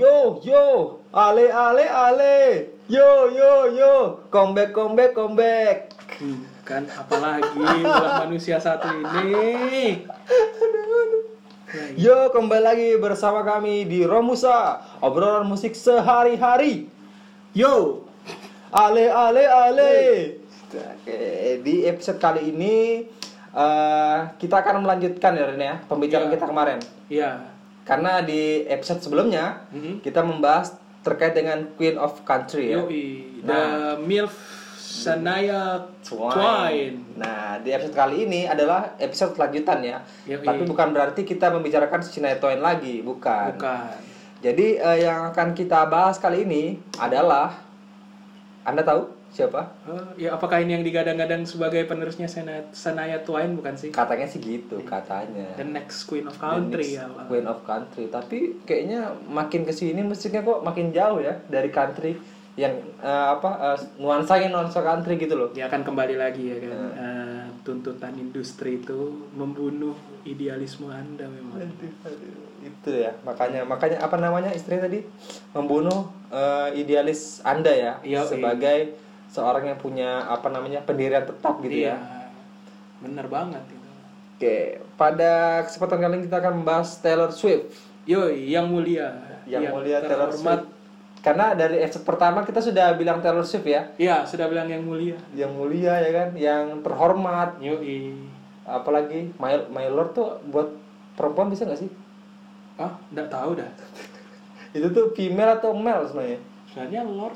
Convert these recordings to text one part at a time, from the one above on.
yo, ale ale ale, yo yo yo, comeback comeback comeback. Bukan apalagi ulah manusia satu ini. Yo kembali lagi bersama kami di Romusa obrolan musik sehari-hari. Yo, Ale ale ale. Eh, Di episode kali ini eh, kita akan melanjutkan ya Ren ya pembicaraan Iya. kita kemarin. ya. Karena di episode sebelumnya Mhm. kita membahas terkait dengan Queen of Country ya. Yoi, Nah. the milf Sanaya Twine. Twine. Nah, di episode kali ini adalah episode lanjutan ya. Yoi. Tapi bukan berarti kita membicarakan Shania Twain lagi, bukan. Bukan. Jadi eh, yang akan kita bahas kali ini adalah Anda tahu siapa? Eh, ya apakah ini yang digadang-gadang sebagai penerusnya Sena- Sanaya Twine bukan sih? Katanya sih gitu, katanya. The next Queen of The next Country ya. Allah. Queen of Country, tapi kayaknya makin kesini musiknya kok makin jauh ya dari country yang eh, apa nuansa nuansanya nuansa country gitu loh. Dia akan kembali lagi ya kan. Nah. Eh, tuntutan industri itu membunuh idealisme Anda memang. itu ya makanya makanya apa namanya istri tadi membunuh eh, idealis anda ya Iya, iya. sebagai seorang yang punya apa namanya pendirian tetap gitu ya Iya. Bener banget itu. oke pada kesempatan kali ini kita akan membahas Taylor Swift Yo, yang mulia. yang mulia Taylor terhormat. Swift karena dari episode pertama kita sudah bilang Taylor Swift ya Ya, sudah bilang yang mulia. yang mulia ya kan yang terhormat Yoi. apalagi my, my lord tuh buat perempuan bisa nggak sih Ah, nggak tahu dah. itu tuh female atau male sebenarnya Sebenarnya Lord,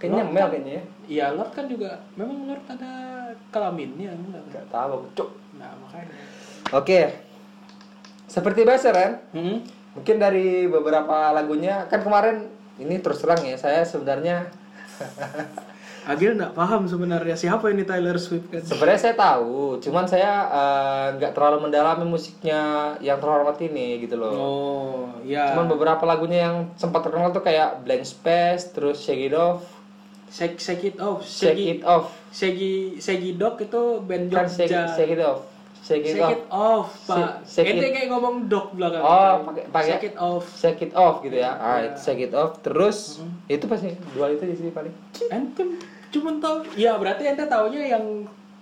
kayaknya male kayaknya ya ya Lord kan juga memang Lord ada kelaminnya enggak kan? nggak tahu aku. cuk Nah, makanya. Oke. Seperti biasa Ren, Hmm? mungkin dari beberapa lagunya kan kemarin ini terus terang ya saya sebenarnya Agil nggak paham sebenarnya siapa ini Taylor Swift kan? sebenarnya saya tahu, cuman saya eh, nggak terlalu mendalami musiknya yang terhormat ini gitu loh. Oh, ya. Cuman beberapa lagunya yang sempat terkenal tuh kayak Blank Space, terus Shake It Off, Shake, shake it off. Shake Shake, It Off, oh, Segi Segi Dok itu band kan Shake, Jogja. Shake It Off, Shake It Shake Off, it off, Pak. Shake- shake Ente it- kayak ngomong dok belakang. Oh, pakai- pakai- Shake it off. Iya. Shake It Off gitu ya. Ah, itu Shake It Off, terus Mm-hmm. itu pasti dua itu sih paling. Ente cuman tau ya berarti ente taunya yang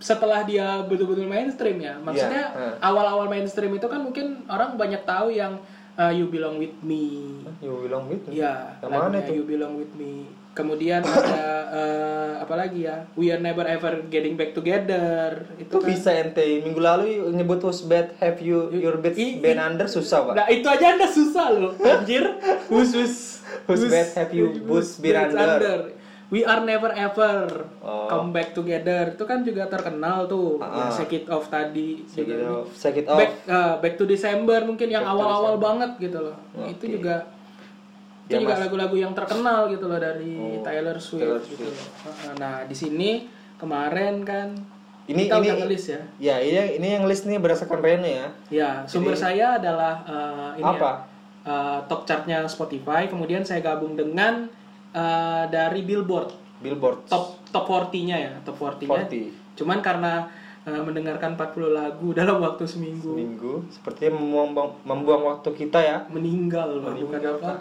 setelah dia betul-betul mainstream ya maksudnya Iya, awal-awal mainstream itu kan mungkin orang banyak tahu yang uh, You Belong With Me You belong with me. ya gitu. Yang mana lagunya itu? You Belong With Me kemudian ada eh, apa lagi ya We Are Never Ever Getting Back Together itu Itu kan bisa ente minggu lalu nyebut was bad have you your bad i- band under susah pak. Nah itu aja anda susah loh Anjir Who's who's Who's bad have you who's been under? We are never ever Oh. Come back together Itu kan juga terkenal tuh Ah. Yang Shake it off tadi Shake it juga. off, shake gitu. it off. Back, eh, back to December mungkin yang awal-awal banget gitu loh Itu juga Ya, Oh, itu juga lagu-lagu yang terkenal gitu loh dari Taylor Swift, Taylor gitu loh. Eh, Nah di sini kemarin kan Ini- kita ini- udah ngelis ya. Ya ini yang, ini yang list nih berdasarkan Rene ya. Ya sumber saya adalah eh, ini ya, Apa? eh, top chartnya Spotify. Kemudian saya gabung dengan eh, dari Billboard Billboard top top 40-nya ya top 40-nya. 40 Cuman karena eh, mendengarkan 40 lagu dalam waktu seminggu minggu. Sepertinya membuang, membuang waktu kita ya. meninggal, Pak. bukan apa.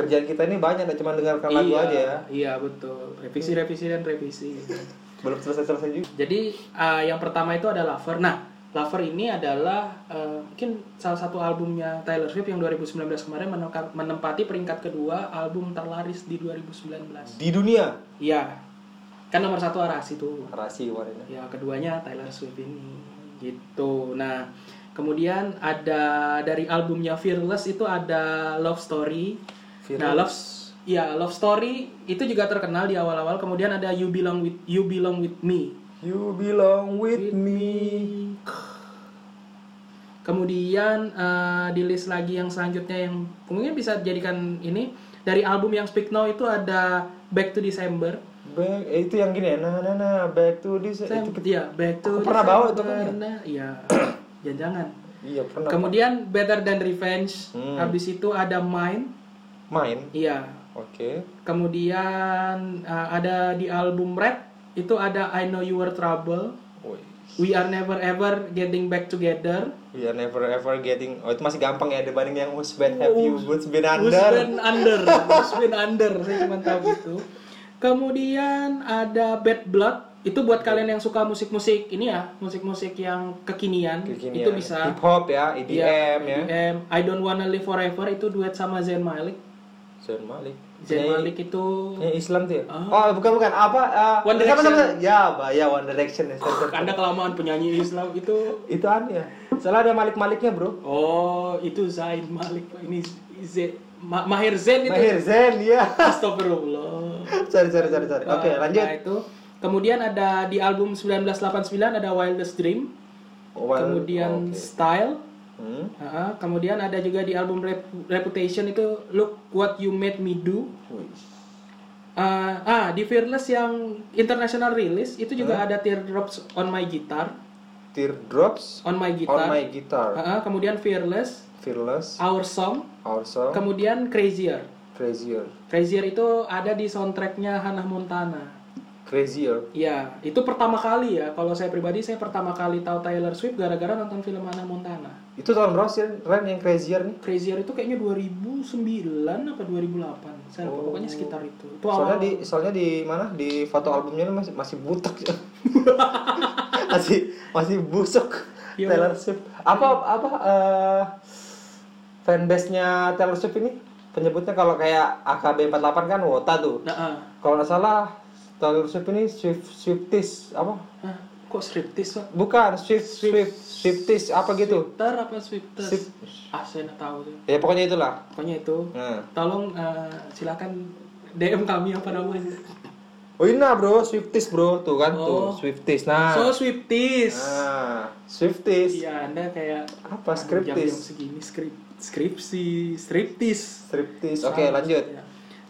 Kerjaan kita ini banyak, nggak cuma dengarkan lagu aja ya. Iya betul revisi revisi dan revisi. Belum selesai selesai juga. Jadi eh, yang pertama itu ada Lover. Nah Lover ini adalah eh, mungkin salah satu albumnya Taylor Swift yang 2019 kemarin meneka- menempati peringkat kedua album terlaris di 2019. Di dunia. Iya, kan nomor satu Aras itu. Rasi warna. Ya keduanya Taylor Swift ini gitu. Nah kemudian ada dari albumnya Fearless itu ada Love Story. Nah Love ya Love Story itu juga terkenal di awal-awal. Kemudian ada You Belong With You Belong With Me. You belong with me. Kemudian eh, di list lagi yang selanjutnya yang mungkin bisa dijadikan ini dari album yang Speak Now itu ada Back to December. Back, eh, itu yang gini ya. Nah, nah, nah, back to this. Saya ya, Back to Aku pernah bawa itu kan, December. Iya. Jangan-jangan. Iya pernah Kemudian Better Than Revenge. Hmm. Habis itu ada Mine. main. Iya. Oke. Kemudian eh, ada di album Red itu ada I Know You Were Trouble. Woi, We Are Never Ever Getting Back Together, We are never ever getting Oh itu masih gampang ya dibanding yang Who's Been Have You Who's Been Who's Under Been Under, Who's Been Under, saya cuma tahu itu. Kemudian ada Bad Blood, itu buat kalian yang suka musik-musik ini ya, musik-musik yang kekinian, Kekinian. itu bisa. Hip Hop ya EDM Iya, ya EDM. I Don't Wanna Live Forever itu duet sama Zayn Malik. Zayn Malik Zayn Penyanyi- Malik itu penyanyi Islam tuh ya? Oh bukan bukan apa eh, One siapa Direction. namanya? Ya ya One Direction ya. sorry, sorry. Anda kelamaan penyanyi Islam itu Itu aneh ya Soalnya ada Malik-Maliknya bro Oh, itu Zain Malik. Ini Z Ma- Mahir Zain itu. Mahir Zain ya Astagfirullah. Sorry sorry sorry sorry Oke Nah, lanjut nah, itu. Kemudian ada di album 1989 ada Wildest Dream, Well, oh, kemudian oke. Style, Hmm. Ha-ha. kemudian ada juga di album Rep- Reputation itu Look What You Made Me Do. Wih. Ah, ah, di Fearless yang international release itu juga Uh-huh. ada Teardrops on My Guitar, Teardrops on my on guitar. my guitar Ha-ha. kemudian Fearless, Fearless Our Song, Also kemudian Crazier. Crazier Crazier itu ada di soundtracknya Hannah Montana. Crazier Ya, itu pertama kali ya. Kalau saya pribadi, saya pertama kali tahu Taylor Swift gara-gara nonton film Hannah Montana. Itu tahun berapa sih Ren yang Crazier nih? Crazier itu kayaknya 2009 apa 2008. Saya Oh. lupa, pokoknya sekitar itu. Itu Soalnya awal. di soalnya di mana? Di foto albumnya ini masih masih butek. masih masih busuk Iya, Taylor Swift. Apa apa eh fanbase-nya Taylor Swift ini? Penyebutnya kalau kayak AKB48 kan Wota tuh. Nah, ah. Kalau nggak salah Taylor Swift ini Swift Swifties apa? Hah, kok striptis Pak? Bukan Swift Swift Swifties apa gitu. Swifter apa Swifter? Swift. Ah, saya nggak tahu. deh. Ya pokoknya itulah. Pokoknya itu. Nah. Tolong eh, silakan DM kami apa namanya. Oh ini nah, bro, Swifties bro, tuh kan Oh. tuh Swifties. Nah, So Swifties. nah Swifties. Iya, Anda kayak apa Jam-jam skriptis segini skrip skripsi striptis. skriptis oke lanjut Ya.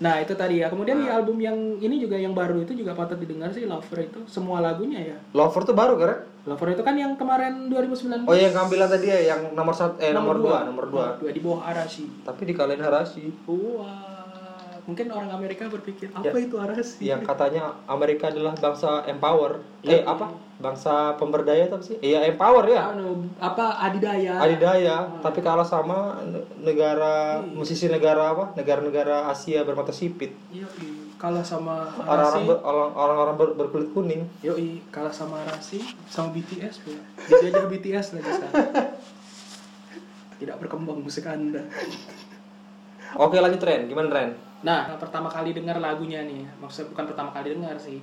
Nah, itu tadi ya. Kemudian di album yang ini juga yang baru itu juga patut didengar sih Lover itu semua lagunya ya. lover tuh baru kan Lover itu kan yang kemarin 2019. oh yang kamu bilang tadi ya yang nomor satu eh nomor, dua. nomor dua di bawah Arashi. tapi di kalian Harashi Wah. Mungkin orang Amerika berpikir Ya. apa itu Arashi? yang katanya Amerika adalah bangsa empower eh apa bangsa pemberdaya tapi sih iya empower ya Anu, apa adidaya? Ah. adidaya tapi kalah sama ne- negara Hmm. musisi negara apa negara-negara Asia bermata sipit Yoi, kalah sama orang-orang Arashi. ber- orang- orang-orang ber- berkulit kuning Yoi, kalah sama Arashi sama BTS, Bro. Dijajah BTS lagi sekarang. Tidak berkembang musik Anda. oke lanjut tren gimana tren Nah, pertama kali dengar lagunya nih, maksudnya bukan pertama kali dengar sih,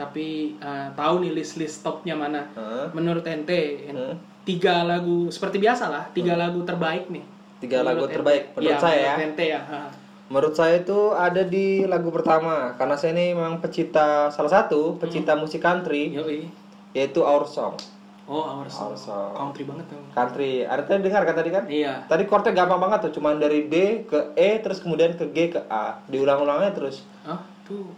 tapi eh, tahu nih list list topnya mana. Menurut ente, Hmm. en- tiga lagu seperti biasa lah, tiga lagu terbaik nih. tiga lagu Menurut terbaik ente. menurut Iya, saya ya menurut ente ya. ha. Menurut saya itu ada di lagu pertama karena saya ini memang pecinta salah satu pecinta Hmm. musik country Yoi. yaitu Our Song. Oh, our Our song. Song. Country banget tuh. Country. Ada tadi dengar kan tadi kan? Iya. Tadi chordnya gampang banget tuh, cuman dari D ke E terus kemudian ke G ke A. Diulang-ulangnya terus. Ah, tuh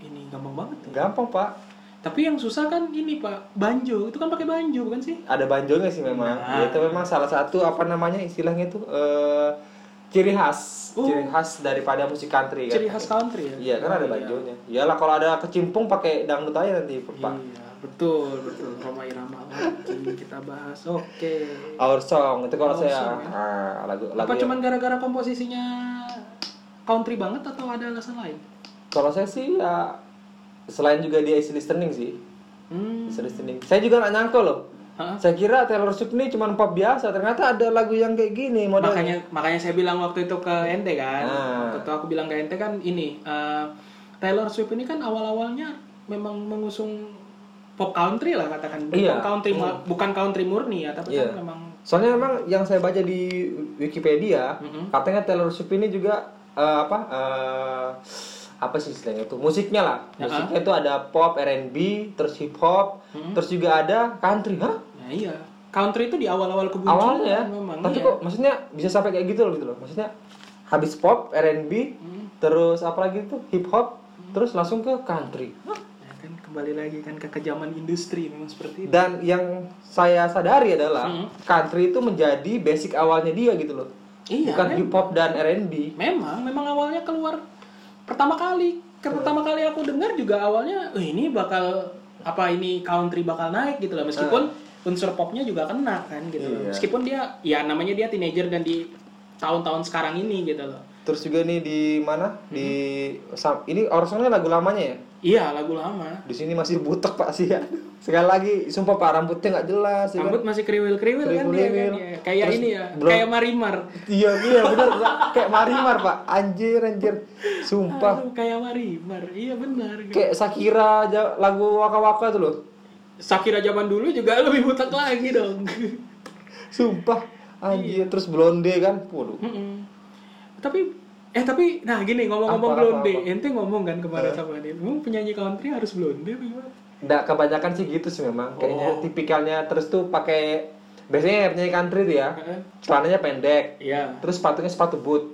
ini gampang banget ya. Gampang, Pak. Tapi yang susah kan ini Pak, banjo. Itu kan pakai banjo bukan sih? Ada banjonya sih memang. Nah. Itu memang salah satu apa namanya istilahnya itu eh ciri khas, Oh. ciri khas daripada musik country kan. Ciri khas country ya. Iya, kan ada Oh, iya. banjonya. Iyalah kalau ada kecimpung pakai dangdut aja nanti, Pak. Iya, betul, betul. Roma Irama lagi kita bahas. Oke. Our Song itu kalau Our saya Song, ya? ah, lagu lagu Apa yang- cuman gara-gara komposisinya country banget atau ada alasan lain? kalau saya sih ya selain juga dia easy listening sih Hmm. easy listening saya juga nggak nyangka loh Hah? saya kira Taylor Swift ini cuma pop biasa ternyata ada lagu yang kayak gini model ya? Makanya makanya saya bilang waktu itu ke ente kan. Ah. Waktu itu aku bilang ke ente kan ini eh, Taylor Swift ini kan awal-awalnya memang mengusung pop country lah katakan. Bukan Iya. country ma- bukan country murni ya, tapi Iya. kan memang soalnya memang yang saya baca di Wikipedia Mm-hmm. katanya Taylor Swift ini juga eh, apa eh, apa sih istilahnya itu musiknya lah Ya. musiknya itu ada pop R&B terus hip hop Mm-hmm. terus juga ada country hah Nah, iya. Country itu di awal-awal kemunculan awalnya ya. ya? memang. tapi iya. kok maksudnya bisa sampai kayak gitu loh gitu loh maksudnya habis pop R&B Hmm. terus apa lagi itu hip hop terus langsung ke country Ya kan kembali lagi kan ke kejaman industri memang seperti itu. dan yang saya sadari adalah Hmm. country itu menjadi basic awalnya dia gitu loh Iya, bukan hip hop dan R&B Memang memang awalnya Kan Iya. keluar pertama kali. Ke pertama kali aku dengar juga awalnya "Eh, ini bakal apa ini country bakal naik gitu loh meskipun unsur popnya juga kena kan gitu Iya. loh. Meskipun dia ya namanya dia teenager dan di tahun-tahun sekarang ini gitu loh. Terus juga nih di mana? Hmm. Di sam- ini orangnya lagu lamanya ya. Iya, lagu lama. Di sini masih butek Pak sih ya. Sekali lagi sumpah Pak rambutnya nggak jelas ya kan? Rambut masih kriwil-kriwil kan dia kan Kriwil-kriwil. ya. Kayak Terus ini ya, belum- kayak marimar. Iya iya bener Pak. kayak marimar Pak. Anjir anjir. Sumpah. Aduh, kayak marimar. Iya benar. Kayak Shakira aja lagu waka-waka tuh loh. Shakira zaman dulu juga lebih butak lagi dong. Sumpah. Anjir terus blonde kan. Waduh. Mm-mm. tapi eh tapi nah gini ngomong-ngomong Apa, Eh. apa, blonde, ente ngomong kan kemarin sama dia, "Emang penyanyi country harus blonde apa gimana? Nggak kebanyakan sih gitu sih memang. Kayaknya Oh. tipikalnya terus tuh pakai biasanya yang penyanyi country tuh ya. Heeh. Celananya pendek. Kan? Iya. Terus sepatunya sepatu boot.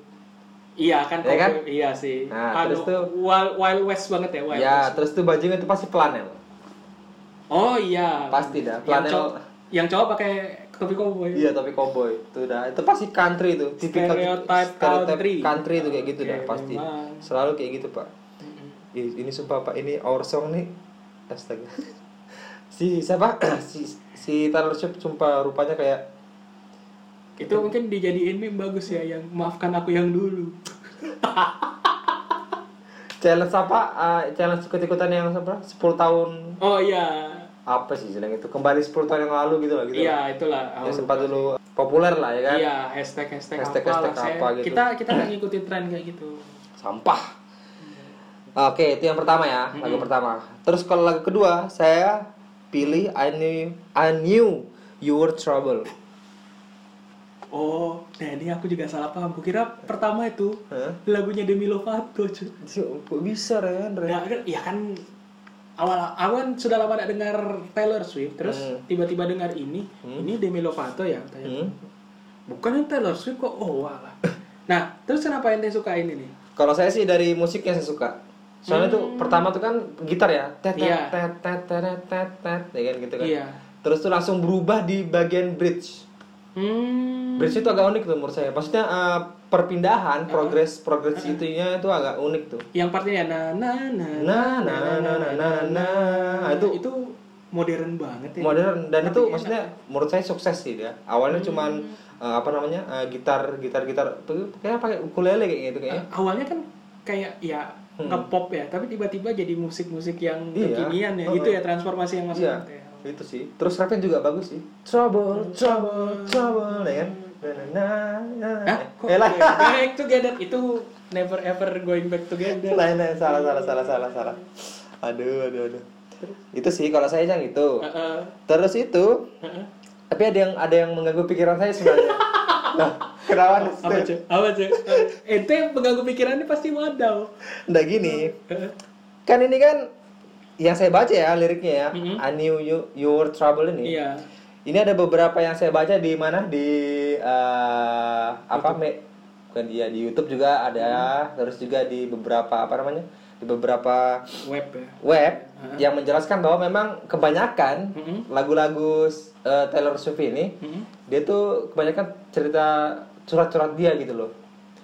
Iya kan, Ya kan? cowok- iya sih. Nah, terus Aduh, tuh- wild, wild west banget ya, wild ya, west. terus tuh bajunya tuh pasti ya. flanel. Oh iya. Pasti dah, Yang flanel. cowok, yang cowok pakai topi cowboy. Iya, tapi cowboy. Itu dah. Itu pasti country itu. Tipikal Stereotype country. country itu kayak gitu Oke, dah pasti. memang. Selalu kayak gitu, Pak. Ih, Ini sumpah Pak, ini our song nih. Astaga. si siapa? si si Taylor Swift sumpah rupanya kayak Itu mungkin dijadiin meme bagus ya yang maafkan aku yang dulu. challenge apa? Ah, challenge ikut-ikutan yang apa? 10 tahun Oh iya. apa sih istilahnya itu? Kembali 10 tahun yang lalu gitu lah gitu. lah. Iya, itulah. Yang sempat dulu populer lah ya kan. Iya, hashtag hashtag, Hashtag- apa, hashtag apa gitu. Kita kita kan ngikutin tren kayak gitu. sampah. Oke, itu yang pertama ya, lagu pertama. Terus kalau lagu kedua, saya pilih I knew, I knew you were trouble. Oh, nah ini aku juga salah paham. Kukira pertama itu Hah? lagunya Demi Lovato. cuy. Kok bisa Ren? Ren? Nah, kan- ya kan awal awan sudah lama gak dengar Taylor Swift, terus Hmm. tiba-tiba dengar ini, ini Demi Lovato ya. Hmm? katanya. Bukan yang Taylor Swift kok. Oh, walah. nah, terus kenapa ente suka ini nih? Kalau saya sih dari musiknya saya suka. Soalnya tuh pertama tuh kan gitar ya, tet tet Iya. tet tet tet tet tet, ya kan gitu kan. Iya. Terus tuh langsung berubah di bagian bridge. Hmm. Bridge itu agak unik tuh menurut saya. Maksudnya eh, perpindahan, progres progres itunya itu agak unik tuh. Yang partinya na na na Nah, nah, nah, nah, nah, nah, nah. Itu itu modern banget ya. modern dan itu maksudnya menurut saya sukses sih dia awalnya Hmm. cuman eh, apa namanya eh, gitar gitar gitar tuh kayak pakai ukulele kayak gitu kayaknya awalnya kan kayak ya nge-pop ya, tapi tiba-tiba jadi musik-musik yang Hmm. Iya. kekinian ya. Oh, Itu ya transformasi yang masuk. iya ya. Hmm. itu sih terus rapnya juga bagus sih trouble trouble trouble ya kan Na, na, na, na. Hah? Kok eh lah back together itu never ever going back together. lain lain Nah, salah salah salah salah salah aduh aduh aduh itu sih kalau saya yang itu Heeh. terus itu Heeh. tapi ada yang ada yang mengganggu pikiran saya sebenarnya nah kerawan Apa cuy? Apa Eh, cuy? Ente pengganggu pikirannya pasti wadaw. Eh, ndak Nah, gini Heeh. kan ini kan yang saya baca ya liriknya ya I knew you you were trouble ini Iya. ini ada beberapa yang saya baca di mana di eh, apa me, bukan dia di YouTube juga ada terus juga di beberapa apa namanya di beberapa Web ya. web yang menjelaskan bahwa memang kebanyakan Mhm. lagu-lagu eh, Taylor Swift ini Mhm. dia tuh kebanyakan cerita curhat-curhat dia gitu loh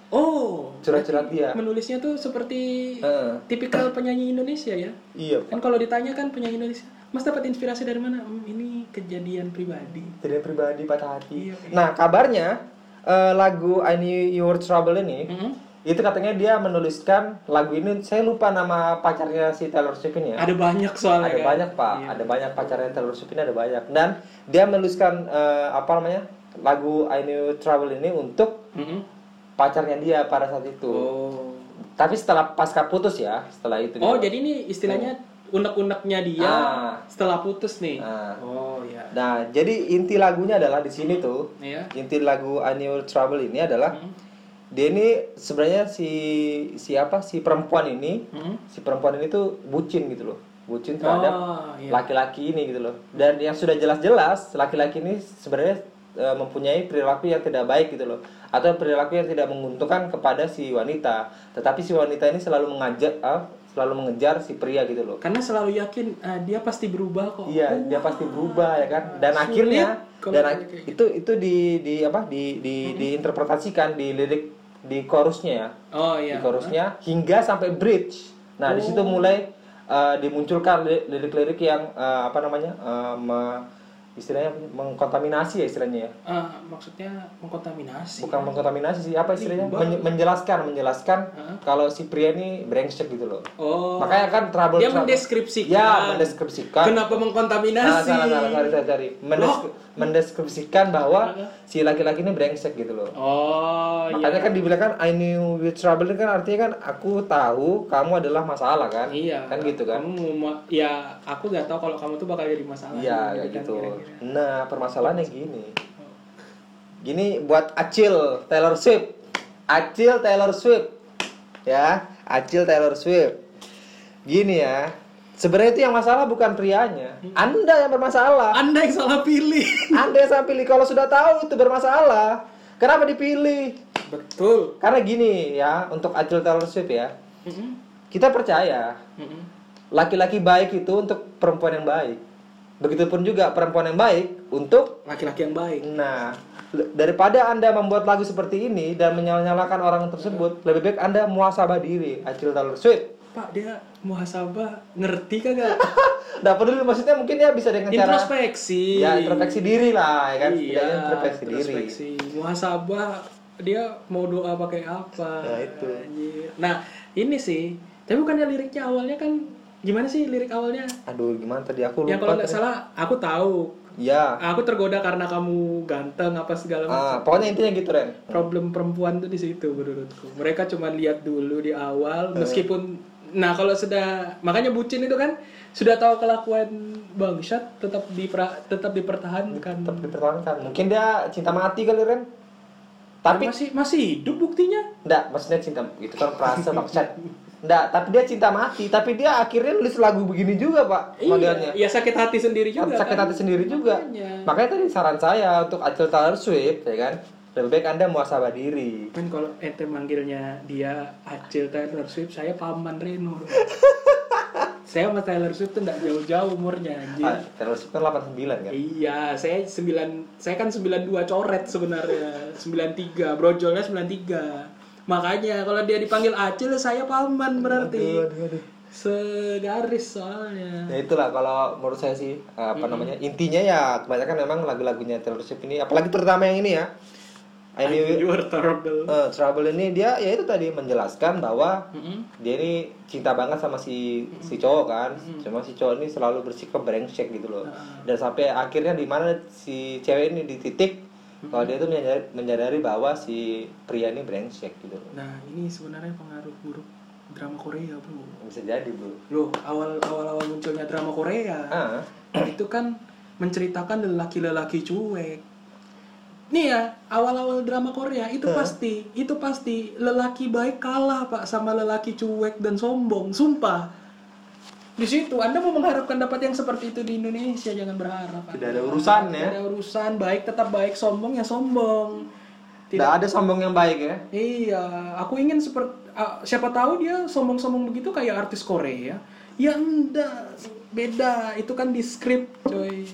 Oh, curhat-curhat dia menulisnya tuh seperti Heeh. tipikal penyanyi Indonesia ya. iya Kan kalau ditanya kan penyanyi Indonesia, Mas dapat inspirasi dari mana? "Hmm, ini kejadian pribadi. tidak pribadi patah hati. Iya, iya. Nah kabarnya eh, lagu I Knew You Were Trouble ini Mm-mm. itu katanya dia menuliskan lagu ini. Saya lupa nama pacarnya si Taylor Swift ini ya. Ada banyak soalnya. Ada kan? banyak pak, ada banyak pacarnya Taylor Swift ini ada banyak. Dan dia menuliskan eh, apa namanya lagu I Knew Trouble ini untuk Mm-mm. pacarnya dia pada saat itu. Oh. Tapi setelah pasca putus ya, setelah itu. Oh, jadi ini istilahnya unek-uneknya dia Ah. setelah putus nih. Ah. Oh, ya. Nah jadi inti lagunya adalah di sini tuh. Ya. inti lagu Annual Trouble ini adalah Hmm. dia ini sebenarnya si siapa si perempuan ini Hmm? si perempuan ini tuh bucin gitu loh bucin terhadap Oh, iya. laki-laki ini gitu loh dan yang sudah jelas-jelas laki-laki ini sebenarnya e, mempunyai perilaku yang tidak baik gitu loh atau perilaku yang tidak menguntungkan kepada si wanita tetapi si wanita ini selalu mengajak ah, selalu mengejar si pria gitu loh Karena selalu yakin ah, dia pasti berubah kok. Iya, Oh, dia pasti berubah ya kan. Dan Sulit akhirnya kalau dan kayak gitu. Mm-hmm. ak- itu itu di di apa di di diinterpretasikan di lirik di chorusnya ya. Oh, Di iya. Oh. chorusnya hingga sampai bridge. Nah, di situ mulai eh, dimunculkan li- lirik-lirik yang eh, apa namanya eh, me- istilahnya apa sih? mengkontaminasi ya istilahnya ya Ah, maksudnya mengkontaminasi. bukan mengkontaminasi sih apa istilahnya Imbang. Men- menjelaskan menjelaskan Heeh. kalau si pria ini brengsek gitu loh Oh. makanya kan trouble dia trouble- mendeskripsikan. ya mendeskripsikan Kenapa Ah, mengkontaminasi? salah, salah, salah, salah, cari. Mendes- Oh. mendeskripsikan bahwa si laki-laki ini brengsek gitu loh. Oh, iya. Makanya kan dibilang kan I knew you trouble kan artinya kan aku tahu kamu adalah masalah kan. Iya. Kan gitu kan. Kamu mau ma- ya aku nggak tahu kalau kamu tuh bakal jadi masalah. Iya Gitu kayak kan, gitu. kira-kira. Nah, permasalahannya gini. Gini buat Acil Taylor Swift. Acil Taylor Swift. Ya, Acil Taylor Swift. Gini ya. Sebenarnya itu yang masalah bukan prianya. Hmm. Anda yang bermasalah. Anda yang salah pilih. Anda yang saya pilih kalau sudah tahu itu bermasalah. Kenapa dipilih? Betul. Karena gini ya, untuk Acil Taylor Swift ya, Mm-mm. kita percaya Mm-mm. laki-laki baik itu untuk perempuan yang baik. Begitupun juga perempuan yang baik untuk Laki-laki yang baik. nah l- daripada anda membuat lagu seperti ini dan menyalahkan orang tersebut, lebih baik anda muhasabah diri, Acil Taylor Swift. Pak dia muhasabah ngerti kagak? Nggak peduli maksudnya mungkin ya bisa dengan cara introspeksi. ya introspeksi diri lah, ya kan? Iya, Setidaknya introspeksi diri. introspeksi. Muhasabah dia mau doa pakai apa? Nah, itu. Anjir. Nah, ini sih. Tapi bukannya liriknya awalnya kan gimana sih lirik awalnya? Aduh gimana tadi aku lupa. Yang Ya, kalau nggak tadi. salah aku tahu. Ya. Aku tergoda karena kamu ganteng apa segala macam. Ah, pokoknya intinya gitu Ren. problem perempuan tuh di situ menurutku mereka cuma lihat dulu di awal Eh. meskipun nah kalau sudah makanya bucin itu kan sudah tahu kelakuan bangsat tetap dipra, tetap dipertahankan Tetap dipertahankan. Mungkin dia cinta mati kali Ren. Tapi masih masih hidup buktinya enggak, maksudnya cinta itu kan perasa maksud. Enggak, tapi dia cinta mati, tapi dia akhirnya nulis lagu begini juga, Pak, modelnya. iya ya sakit hati sendiri juga sakit kan. hati sendiri juga. Makanya. Makanya tadi saran saya untuk Acil Taylor Swift, ya kan? Lebih baik Anda muasabah diri. kan kalau ente manggilnya dia Acil Taylor Swift saya paman Reno saya sama Taylor Swift tuh nggak jauh-jauh umurnya anjir Ah, Taylor Swift kan 89 kan? Iya, saya 9 saya kan 92 coret sebenarnya. 93, brojolnya 93. Makanya kalau dia dipanggil Acil saya paman berarti. Aduh, aduh. Segaris soalnya. Ya itulah kalau menurut saya sih apa namanya intinya ya kebanyakan memang lagu-lagunya Taylor Swift ini apalagi terutama yang ini ya I I Knew knew you were terrible. Eh, Trouble ini dia ya itu tadi menjelaskan bahwa Mm-mm. dia ini cinta banget sama si si cowok kan. Hmm. Cuma si cowok ini selalu bersikap brengsek gitu loh. Dan sampai akhirnya di mana si cewek ini di titik kalau dia itu Hmm. menyadari, menyadari bahwa si pria ini brengsek gitu loh. Nah, ini sebenarnya pengaruh buruk drama Korea, Bro. Bisa jadi, Bro. Loh, awal awal-awal munculnya drama Korea. Ah, itu kan menceritakan lelaki-lelaki cuek. Nih ya, awal-awal drama Korea itu pasti, itu pasti lelaki baik kalah Pak sama lelaki cuek dan sombong, sumpah. Di situ Anda mau mengharapkan dapat yang seperti itu di Indonesia, jangan berharap. Tidak ada urusan, ya. Tidak ada urusan, baik tetap baik, sombong ya sombong. Tidak. tidak ada sombong yang baik ya. Iya, aku ingin seperti ah, siapa tahu dia sombong-sombong begitu kayak artis Korea. Ya enggak, beda. Itu kan di skrip, coy.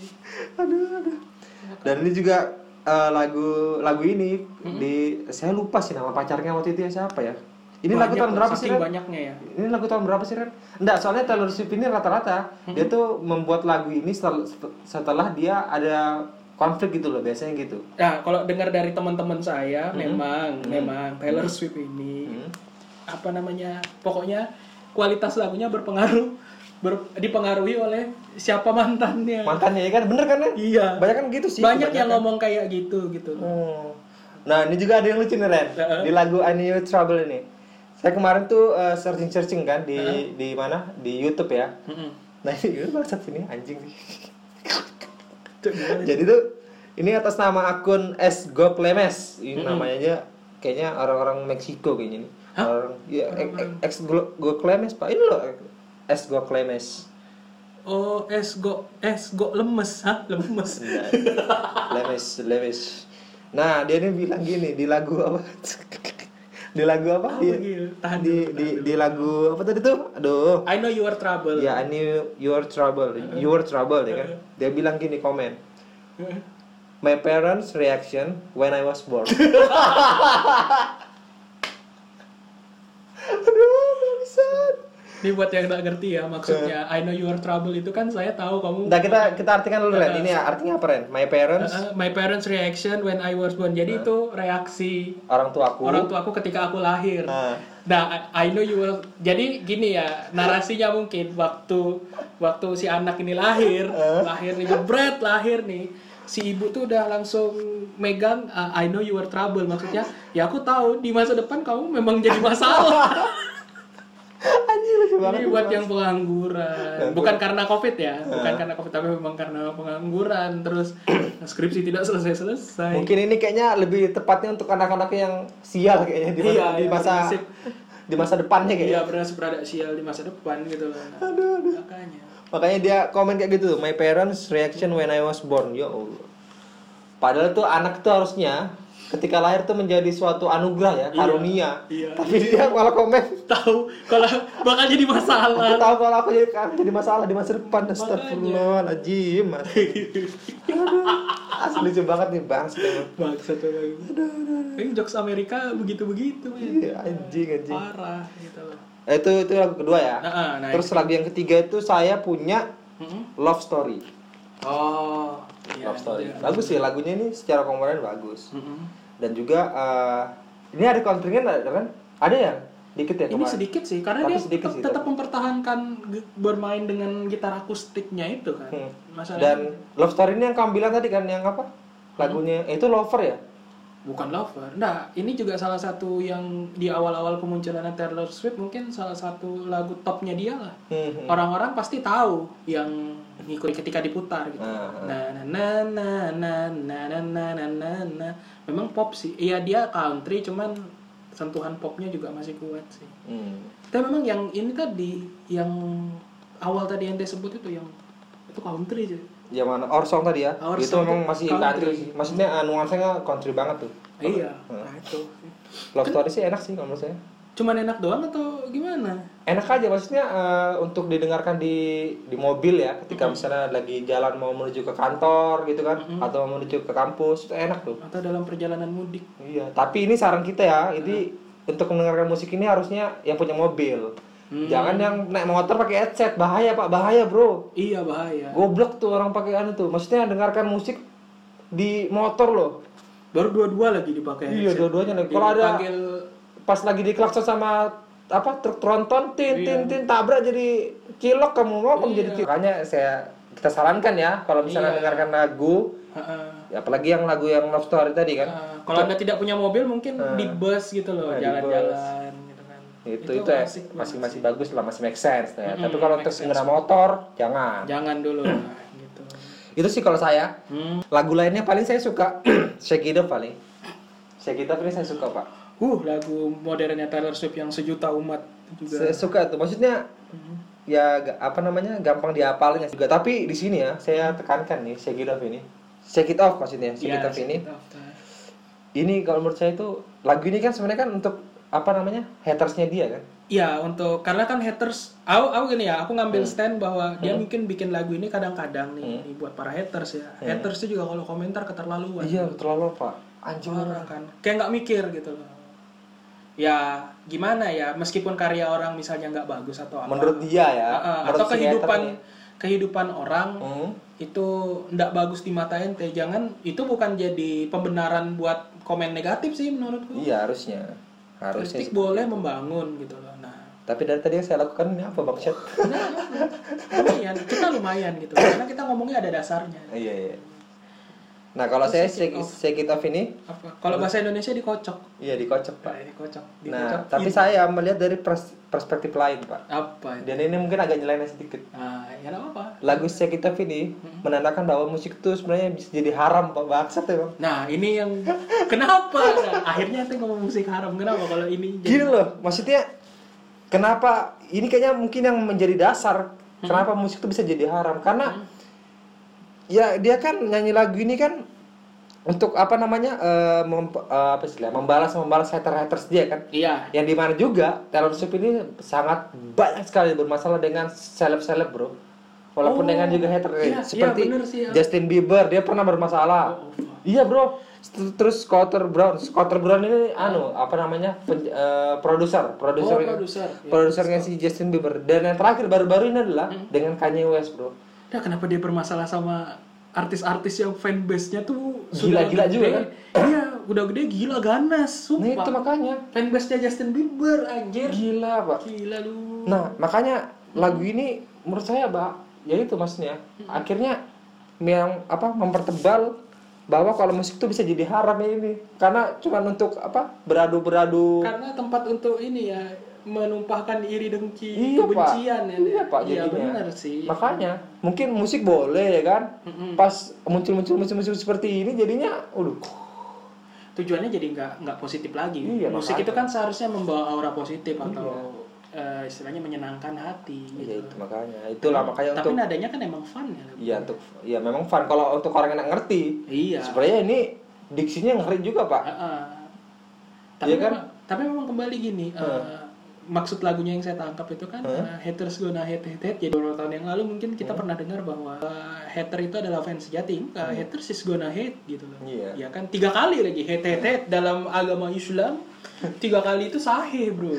Dan ini juga eh, lagu lagu ini Hmm. di saya lupa sih nama pacarnya waktu itu ya siapa ya. Ini lagu Banyak tahun loh, berapa sih? saking Ren? banyaknya ya. Ini lagu tahun berapa sih Ren? Enggak, soalnya Taylor Swift ini rata-rata dia tuh membuat lagu ini setel- setelah dia ada konflik gitu loh biasanya gitu. Nah, kalau dengar dari teman-teman saya Mm-hmm. memang memang Taylor Swift ini apa namanya? Pokoknya kualitas lagunya berpengaruh ber- dipengaruhi oleh siapa mantannya. Mantannya ya kan bener kan ya? Iya. Banyak kan gitu sih. Banyak yang ngomong kayak gitu gitu. Hmm. Nah, ini juga ada yang lucu nih Ren. Heeh. Di lagu I Knew Trouble ini. Saya kemarin tuh eh, searching-searching kan di di mana? Di YouTube ya. Mm-mm. Nah, ini bangsat ini anjing sih. Cuk, gimana? Jadi tuh ini atas nama akun S Goplemes, ini namanya aja kayaknya orang-orang Meksiko kayaknya nih. Orang ya ex Goplemes Pak. Ini loh eh, S Goplemes. Oh, es go es go lemes, hah? Lemes. Iya. Lemes, Lemes. Nah, dia ini bilang gini di lagu apa? di lagu apa? Apa Di, gitu? Tahan di, dulu, di, tahan di lagu apa tadi tuh? Aduh. I know you are trouble. Ya, I knew your trouble, your trouble, ya kan? Dia bilang gini komen, my parents reaction when I was born. Aduh, bangsat. Ini buat yang nggak ngerti ya maksudnya I know your trouble itu kan saya tahu kamu Nah, kita kita artikan dulu Ren. Ini artinya apa Ren? My parents, Uh, my parents reaction when I was born. Jadi itu reaksi orang tuaku. orang tua aku ketika aku lahir. Nah. Nah, I I know you will. Jadi gini ya, narasinya mungkin waktu waktu si anak ini lahir, Ah. lahir nih, jebret lahir nih. Si ibu tuh udah langsung megang uh, I know you were trouble maksudnya, ya aku tahu di masa depan kamu memang jadi masalah. Anjir lucu banget. Ini buat yang pengangguran. Bukan karena Covid ya, Ah. bukan karena Covid tapi memang karena pengangguran terus skripsi tidak selesai-selesai. Mungkin ini kayaknya lebih tepatnya untuk anak-anak yang sial kayaknya di masa Iya, di iya, masa, nasib. di masa depannya kayaknya. Iya, berasa berada sial di masa depan gitu loh. Aduh, aduh. Makanya. Makanya dia komen kayak gitu, my parents reaction when I was born. Ya Allah. Padahal tuh anak tuh harusnya ketika lahir tuh menjadi suatu anugerah ya, karunia. iya. Tapi dia malah komen, Tahu kalau bakal jadi aku masalah. tahu kalau aku jadi, aku Kan jadi masalah di masa depan. Astagfirullahaladzim. Mas. Aduh, asli lucu banget nih bang. Maksud lagi. Ini jokes Amerika begitu-begitu, men. Iya, anjing anjing. Parah gitu loh. Eh, Itu itu lagu kedua ya. Nah, ah, nah. Terus lagu yang ketiga itu saya punya Mm-mm. Love Story. Oh, iya. Love Story. iya. Bagus sih lagunya ini secara komponen bagus. Mm-mm. Dan juga eh, ini ada countrynya nggak, kan? Ada ya? Dikit ya Ini kemarin. sedikit sih, karena Tapi dia sedikit tetap, sih, tetap mempertahankan ge- bermain dengan gitar akustiknya itu kan. Hmm. Dan Masalahnya Love Story ini yang kamu bilang tadi kan yang apa? Lagunya eh, itu Lover ya? bukan lover. Nah, ini juga salah satu yang di awal-awal kemunculan Taylor Swift mungkin salah satu lagu topnya dia lah. Hmm, hmm. orang-orang pasti tahu yang ngikuti ketika diputar gitu. Ah, ah. Nah, nah, nah, nah, nah, nah, nah, nah, nah, nah. Memang pop sih. Iya dia country cuman sentuhan popnya juga masih kuat sih. Hmm. Tapi memang yang ini tadi yang awal tadi yang dia sebut itu yang itu country sih. Ya mana Our Song tadi ya? Our itu Song memang tuh masih country. country. sih. Maksudnya eh, nuansanya country banget tuh. Iya, Ah. nah itu. Love Story sih enak sih kalau menurut saya. Cuman enak doang atau gimana? enak aja maksudnya eh, untuk didengarkan di di mobil ya ketika Mm-hmm. misalnya lagi jalan mau menuju ke kantor gitu kan atau mau menuju ke kampus itu enak tuh Atau dalam perjalanan mudik? iya tapi ini saran kita ya ini Mm-hmm. untuk mendengarkan musik ini harusnya yang punya mobil jangan yang naik motor pakai headset bahaya pak bahaya bro Iya bahaya. goblok tuh orang pakai anu tuh maksudnya dengarkan musik di motor loh Baru dua-dua lagi dipakai. iya headset. dua-duanya nih kalau ada Dipanggil pas lagi diklakson sama apa truk tronton tin tin tin tabrak jadi cilok kamu mau kamu jadi cilok makanya saya kita sarankan ya kalau misalnya dengarkan lagu Ah, ah. ya apalagi yang lagu yang love story tadi kan Uh, kalau anda tidak punya mobil mungkin di bus gitu loh Eh. di jalan-jalan gitu kan itu itu ya, asik banget masih sih. masih bagus lah masih make sense ya. tapi kalau untuk pengguna motor jangan jangan dulu lah, gitu itu sih kalau saya hmm. lagu lainnya paling saya suka shake it up paling shake it up ini saya suka pak uh lagu modernnya Taylor Swift yang sejuta umat juga Hmm. saya suka tuh maksudnya ya ga- apa namanya gampang diapalnya juga tapi di sini ya saya tekankan nih shake it off ini shake it off maksudnya shake Iya, it off ini Shake It Off. ini kalau menurut saya itu lagu ini kan sebenarnya kan untuk apa namanya hatersnya dia kan Iya untuk karena kan haters, aku aku gini ya, aku Hmm. ngambil stand bahwa dia mungkin bikin lagu ini kadang-kadang nih dibuat para haters ya. Haters itu juga kalau komentar keterlaluan. Hmm. iya terlalu apa anjir orang kan kayak nggak mikir gitu loh ya gimana ya meskipun karya orang misalnya nggak bagus atau apa menurut dia ya Ah, ah, menurut atau si kehidupan hater kehidupan orang ini. Hmm. itu nggak bagus di mata ente jangan itu bukan jadi pembenaran buat komen negatif sih menurutku iya harusnya harusnya kritik boleh membangun gitu loh nah tapi dari tadi yang saya lakukan ini apa bang Chat? nah, lumayan kita lumayan gitu karena kita ngomongnya ada dasarnya iya iya nah kalau saya shake, shake it off ini apa kalau bahasa Indonesia dikocok iya dikocok pak nah, dikocok Iya. dikocok Nah, tapi saya melihat dari pers- perspektif lain, Pak. apa itu? Dan ini mungkin agak nyeleneh sedikit. nah ya nggak apa-apa Lagu Shake It Off ini menandakan bahwa musik itu sebenarnya bisa jadi haram, Pak. Bangsat ya, Bang. Nah, ini yang kenapa? Nah, akhirnya tuh ngomong musik haram. Kenapa kalau ini jadi- Gini loh, maksudnya kenapa ini kayaknya mungkin yang menjadi dasar kenapa musik itu bisa jadi haram karena ya dia kan nyanyi lagu ini kan untuk apa namanya eh, mem- eh, apa sih membalas membalas hater haters dia kan Iya. yang dimana juga Taylor Swift ini sangat banyak sekali bermasalah dengan seleb-seleb bro walaupun Oh, dengan juga hater iya, iya, seperti bener sih, ya. Justin Bieber dia pernah bermasalah Oh, Allah. Iya bro. Ter- Terus Scotter Brown, Scotter Brown ini anu apa namanya pen- eh, produser, produser, kan. Oh, produser, iya. produsernya si Justin Bieber. Dan yang terakhir baru-baru ini adalah Hmm. dengan Kanye West bro. Nah, kenapa dia bermasalah sama artis-artis yang fanbase-nya tuh Gila-gila gede. juga, kan? Iya, udah gede gila ganas, Nah itu sumpah. makanya fanbase-nya Justin Bieber anjir. gila pak. Gila lu. Nah makanya lagu ini menurut saya pak, ya itu maksudnya akhirnya yang apa mempertebal bahwa kalau musik tuh bisa jadi haram ya ini karena cuman untuk apa beradu-beradu Karena tempat untuk ini ya menumpahkan iri dengki Iya pak, kebencian ya. iya pak Iya jadinya. benar sih. Makanya mungkin musik boleh ya kan. Mm-mm. Pas muncul-muncul musim-musim seperti ini jadinya, waduh, tujuannya jadi nggak nggak positif lagi. Iya, makanya. Musik Iya. itu kan seharusnya membawa aura positif atau eh, istilahnya menyenangkan hati. gitu. ya itu makanya. Itulah makanya Tapi untuk, nadanya kan emang fun ya ya. untuk, ya memang fun. Kalau untuk orang yang nggak ngerti, Iya. sebenarnya ini diksinya ngeri juga pak. Heeh. Tapi Iya kan? memang, tapi memang kembali gini. eh, maksud lagunya yang saya tangkap itu kan eh, haters gonna hate hate hate. Jadi beberapa tahun yang lalu mungkin kita pernah dengar bahwa eh, hater itu adalah fans sejati. Enggak, haters is gonna hate gitu loh. Iya. Ya kan tiga kali lagi hate hate hate dalam agama Islam tiga kali itu sahih bro.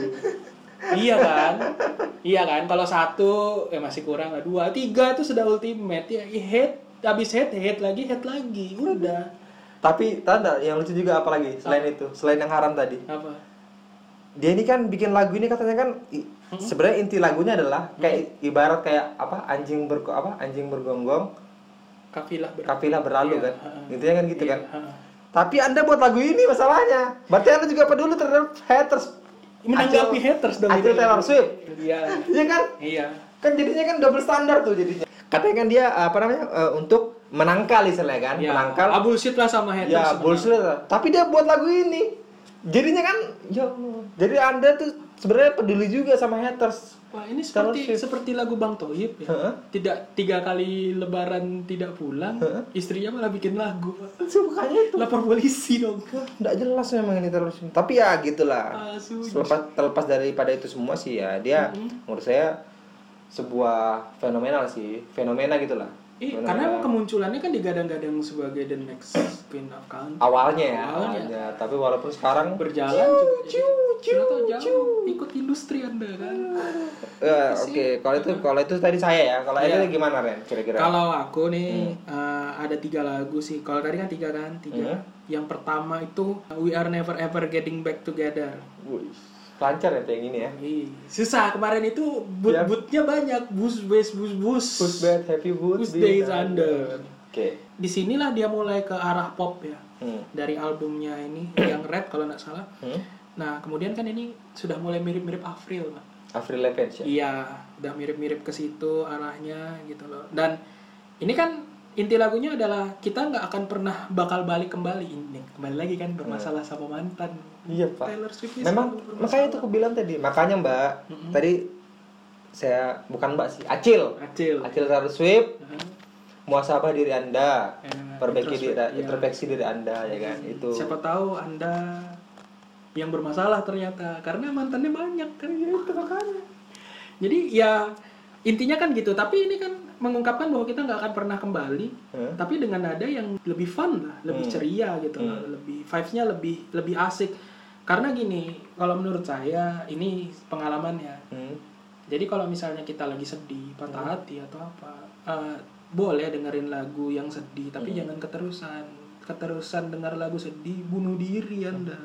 iya kan, iya kan. Kalau satu eh, masih kurang lah dua, tiga itu sudah ultimate ya. Hate habis hate hate lagi hate lagi udah Tapi tanda yang lucu juga apalagi selain itu, selain yang haram tadi. apa Dia ini kan bikin lagu ini katanya kan i- sebenarnya inti lagunya adalah kayak ibarat kayak apa anjing berko apa anjing bergonggong kafilah ber kafilah berlalu kan intinya kan gitu kan Heeh. Tapi Anda buat lagu ini masalahnya. Berarti Anda juga peduli terhadap haters. menanggapi Acil- haters dong Acil ini. Taylor Swift. iya Iya kan? iya Kan jadinya kan double standar tuh jadinya. Katanya kan dia apa namanya eh, untuk menangkal istilahnya kan, Ya, menangkal. ah, bullshit lah sama haters ya sebenarnya. bullshit. lah. Tapi dia buat lagu ini. Jadinya kan ya Allah. Jadi Anda tuh sebenarnya peduli juga sama haters. Wah, ini Taylor seperti Swift. seperti lagu Bang Toyib ya. Heeh. Tidak tiga kali lebaran tidak pulang, istrinya malah bikin lagu. Sukanya itu Lapor polisi dong. nggak jelas memang ini terus. Tapi ya gitulah. Asu. Selepas terlepas daripada itu semua sih ya, dia menurut saya sebuah fenomenal sih, fenomena gitulah. Ih, karena emang kemunculannya kan digadang-gadang sebagai the next queen of country. awalnya ya, Awalnya. awalnya. Tapi walaupun sekarang eh, Berjalan juga jadi- Siapa tahu jauh ikut industri Anda kan. Eh, oke, kalau itu kalau itu tadi saya ya. Kalau itu gimana Ren kira-kira? Kalau aku nih eh, ada tiga lagu sih. Kalau tadi kan tiga kan, tiga. Yang pertama itu We Are Never Ever Getting Back Together. Wih, Lancar ya tuh yang ini ya. Ih, Susah kemarin itu but Iya. butnya banyak, bus bus bus bus. Who's bad happy Whose who's Day been is Under. Oke. Disinilah dia mulai ke arah pop ya. Hmm. Dari albumnya ini yang Red kalau nggak salah. Hmm? Nah kemudian kan ini sudah mulai mirip-mirip Avril. Pak. Avril Lavigne ya. Iya, udah mirip-mirip ke situ arahnya gitu loh. Dan ini kan inti lagunya adalah kita nggak akan pernah bakal balik kembali ini kembali lagi kan bermasalah sama mantan. Iya, Pak. Taylor Swift ini Memang selalu makanya itu aku bilang tadi. Makanya Mbak, tadi saya bukan Mbak sih, Acil. acil. Nah, Acil Taylor Swift, Heeh. muasabah diri Anda. Eh, Perbaiki diri, introspek- iya. introspeksi diri Anda ya kan. Itu. Siapa tahu anda yang bermasalah ternyata karena mantannya banyak kan ya itu makanya. Jadi ya intinya kan gitu. Tapi ini kan mengungkapkan bahwa kita nggak akan pernah kembali Hmm? tapi dengan nada yang lebih fun lah, lebih Hmm. ceria gitu, lah, lebih vibes-nya lebih lebih asik. Karena gini, kalau menurut saya ini pengalamannya. Hmm? Jadi kalau misalnya kita lagi sedih, patah hati atau apa, eh, boleh dengerin lagu yang sedih, tapi Hmm. jangan keterusan. Keterusan dengar lagu sedih, bunuh diri Hmm. Anda.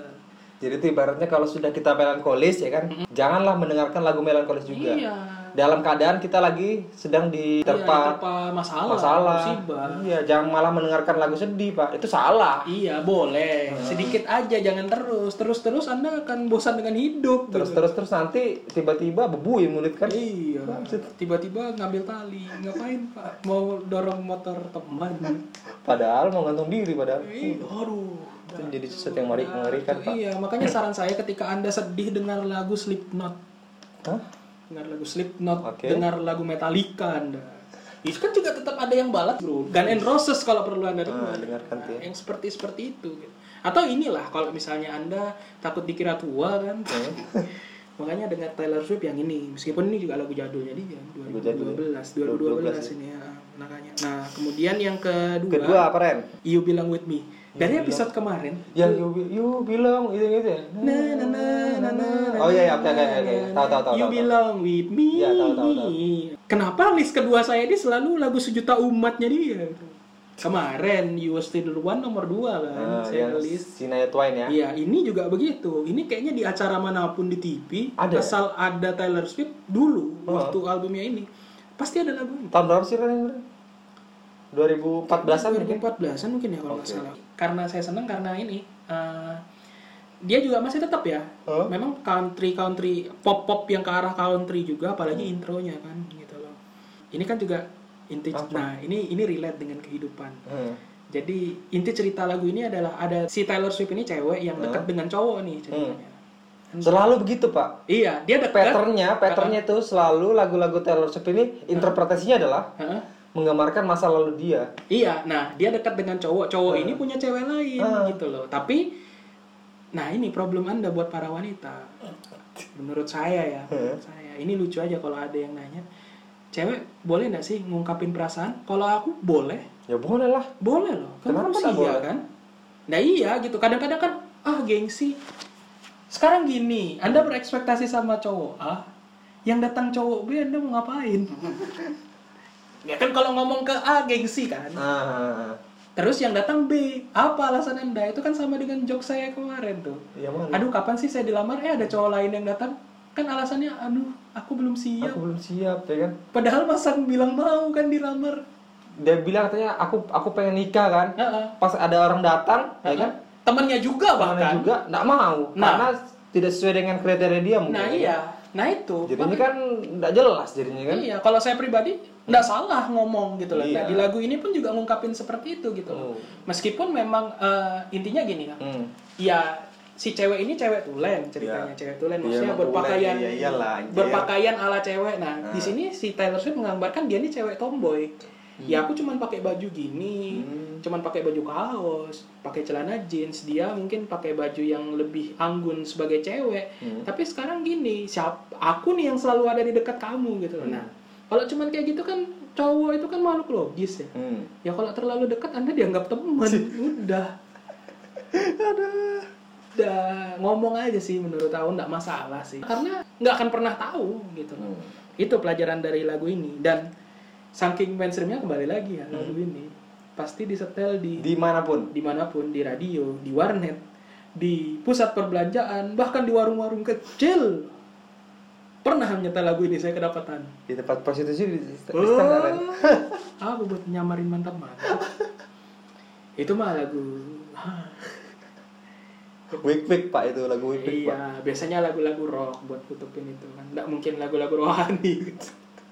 Jadi itu ibaratnya kalau sudah kita melankolis ya kan, janganlah mendengarkan lagu melankolis juga. Iya. Dalam keadaan kita lagi sedang Iya, diterpa terpa masalah, masalah. musibah. Iya, jangan malah mendengarkan lagu sedih, Pak. Itu salah. Iya, boleh. Hmm. Sedikit aja, jangan terus. Terus-terus Anda akan bosan dengan hidup. gitu. Terus terus terus nanti tiba-tiba bebu mulut kan. Iya. Tiba-tiba ngambil tali. Ngapain pak? Mau dorong motor teman. Padahal mau gantung diri padahal. Ih, Aduh. Itu jadi sesuatu yang mengeri- mengerikan, Kan, Pak. Iya, makanya saran saya ketika Anda sedih dengar lagu Slipknot. Hah? Dengar lagu Slipknot, Oke. dengar lagu Metallica Anda. Itu kan juga tetap ada yang balas, Bro. Gun and Roses kalau perlu Anda dengar. dengarkan tuh ya. yang seperti seperti itu gitu. Atau inilah kalau misalnya Anda takut dikira tua kan. Iya. Makanya dengar Taylor Swift yang ini, meskipun ini juga lagu jadulnya dia Lagu jadul 2012, 2012 ini ya, makanya. ya, Nah, kemudian yang kedua, ya? Kedua apa, Ren? You Belong With Me. Dari episode kemarin. Yang you, Be- you belong itu gitu ya. Na, na, na, na, na, na, Oh iya iya na, oke oke na, oke. Tahu na, tahu tahu. You tahu, tahu. belong with me. Iya, tahu, tahu, tahu. Kenapa list kedua saya ini selalu lagu sejuta umatnya dia? Kemarin You Were Still The One nomor dua kan. Eh, saya yang list. Sinaya Twain ya. Iya, ini juga begitu. Ini kayaknya di acara manapun di TV, Ada ya? asal ada Taylor Swift dulu Oh. waktu albumnya ini, pasti ada lagu ini. Tahun berapa sih Ren? 2014-an mungkin. 2014-an mungkin ya kalau nggak kan? Oke. salah. Karena saya seneng karena ini eh, dia juga masih tetap ya. Oh. Memang country country pop pop yang ke arah country juga, apalagi Hmm. intronya kan gitu loh. Ini kan juga inti. Apa? Nah ini ini relate dengan kehidupan. Hmm. Jadi inti cerita lagu ini adalah ada si Taylor Swift ini cewek yang dekat dengan cowok nih ceritanya. Hmm. Selalu begitu, Pak. Iya, dia dekat. Patternnya, patternnya itu selalu lagu-lagu Taylor Swift ini interpretasinya adalah Heeh. menggambarkan masa lalu dia. Iya, nah dia dekat dengan cowok. Cowok ini punya cewek lain Heeh. gitu loh. Tapi nah ini problem Anda buat para wanita. Menurut saya ya, menurut saya. Ini lucu aja kalau ada yang nanya. Cewek boleh nggak sih ngungkapin perasaan? Kalau aku boleh. Ya boleh lah. Boleh loh. Kan Kenapa harus nggak iya boleh? kan? Nah iya gitu. Kadang-kadang kan ah gengsi. Sekarang gini, Anda berekspektasi sama cowok A, yang datang cowok B Anda mau ngapain? ya kan kalau ngomong ke A gengsi kan. Ah, Terus yang datang B, apa alasan Anda? Itu kan sama dengan joke saya kemarin tuh. ya mana? Aduh, kapan sih saya dilamar? Eh ada cowok lain yang datang. Kan alasannya aduh, aku belum siap. Aku belum siap, ya kan? Padahal masang bilang mau kan dilamar. Dia bilang katanya aku aku pengen nikah kan. Heeh. Pas ada orang datang, ya kan? Temennya juga Temannya bahkan. juga nggak mau Nah. karena tidak sesuai dengan kriteria dia mungkin. Nah iya, nah itu. Jadinya Maka- kan nggak jelas jadinya kan. Iya, kalau saya pribadi nggak salah ngomong gitu loh. Nah, Iya. di lagu ini pun juga ngungkapin seperti itu gitu loh. Oh. Meskipun memang eh, intinya gini kan, Hmm. ya si cewek ini cewek tulen ceritanya Iya. cewek tulen Iya, maksudnya emang berpakaian tulen, iya, iyalah, anjir. berpakaian ala cewek. Nah, di Ah. sini si Taylor Swift menggambarkan dia ini cewek tomboy. Ya aku cuman pakai baju gini, Hmm. cuman pakai baju kaos, pakai celana jeans. Dia mungkin pakai baju yang lebih anggun sebagai cewek. Hmm. Tapi sekarang gini, siap aku nih yang selalu ada di dekat kamu gitu loh. Hmm. Nah, kalau cuman kayak gitu kan cowok itu kan makhluk logis ya. Hmm. Ya kalau terlalu dekat Anda dianggap teman, udah. Udah ngomong aja sih menurut aku nggak masalah sih. Karena nggak akan pernah tahu gitu. loh. Hmm. Itu pelajaran dari lagu ini dan saking mainstreamnya kembali lagi ya lagu ini. Pasti disetel di Dimanapun. dimanapun di radio, di warnet, di pusat perbelanjaan, bahkan di warung-warung kecil. Pernah menyetel lagu ini saya kedapatan. Di tempat prostitusi di, di Oh. stand ada. Apa buat nyamarin mantap mantap? Itu mah lagu. Hah, Wig wig Pak itu lagu wig wig Pak. iya, biasanya lagu-lagu rock buat tutupin itu kan. Nggak mungkin lagu-lagu rohani.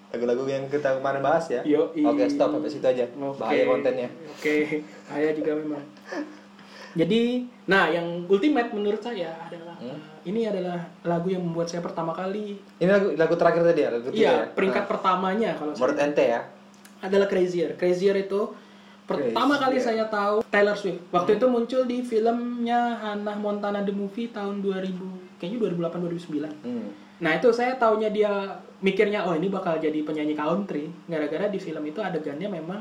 Lagu-lagu yang kita kemarin bahas ya. Yoi. Oke, stop sampai situ aja. iya. Oke. Bahaya kontennya. Oke, bahaya juga memang. Jadi, nah yang ultimate menurut saya adalah Hmm? ini adalah lagu yang membuat saya pertama kali Ini lagu lagu terakhir tadi ya, lagu ketiga Iya, ya? peringkat Nah, pertamanya kalau saya menurut ente ya. adalah Crazier. Crazier itu Crazier. pertama Hmm. kali saya tahu Taylor Swift. Waktu itu muncul di filmnya Hannah Montana The Movie tahun 2000, kayaknya 2008 2009. Hmm. Nah, itu saya taunya dia mikirnya oh ini bakal jadi penyanyi country gara-gara di film itu adegannya memang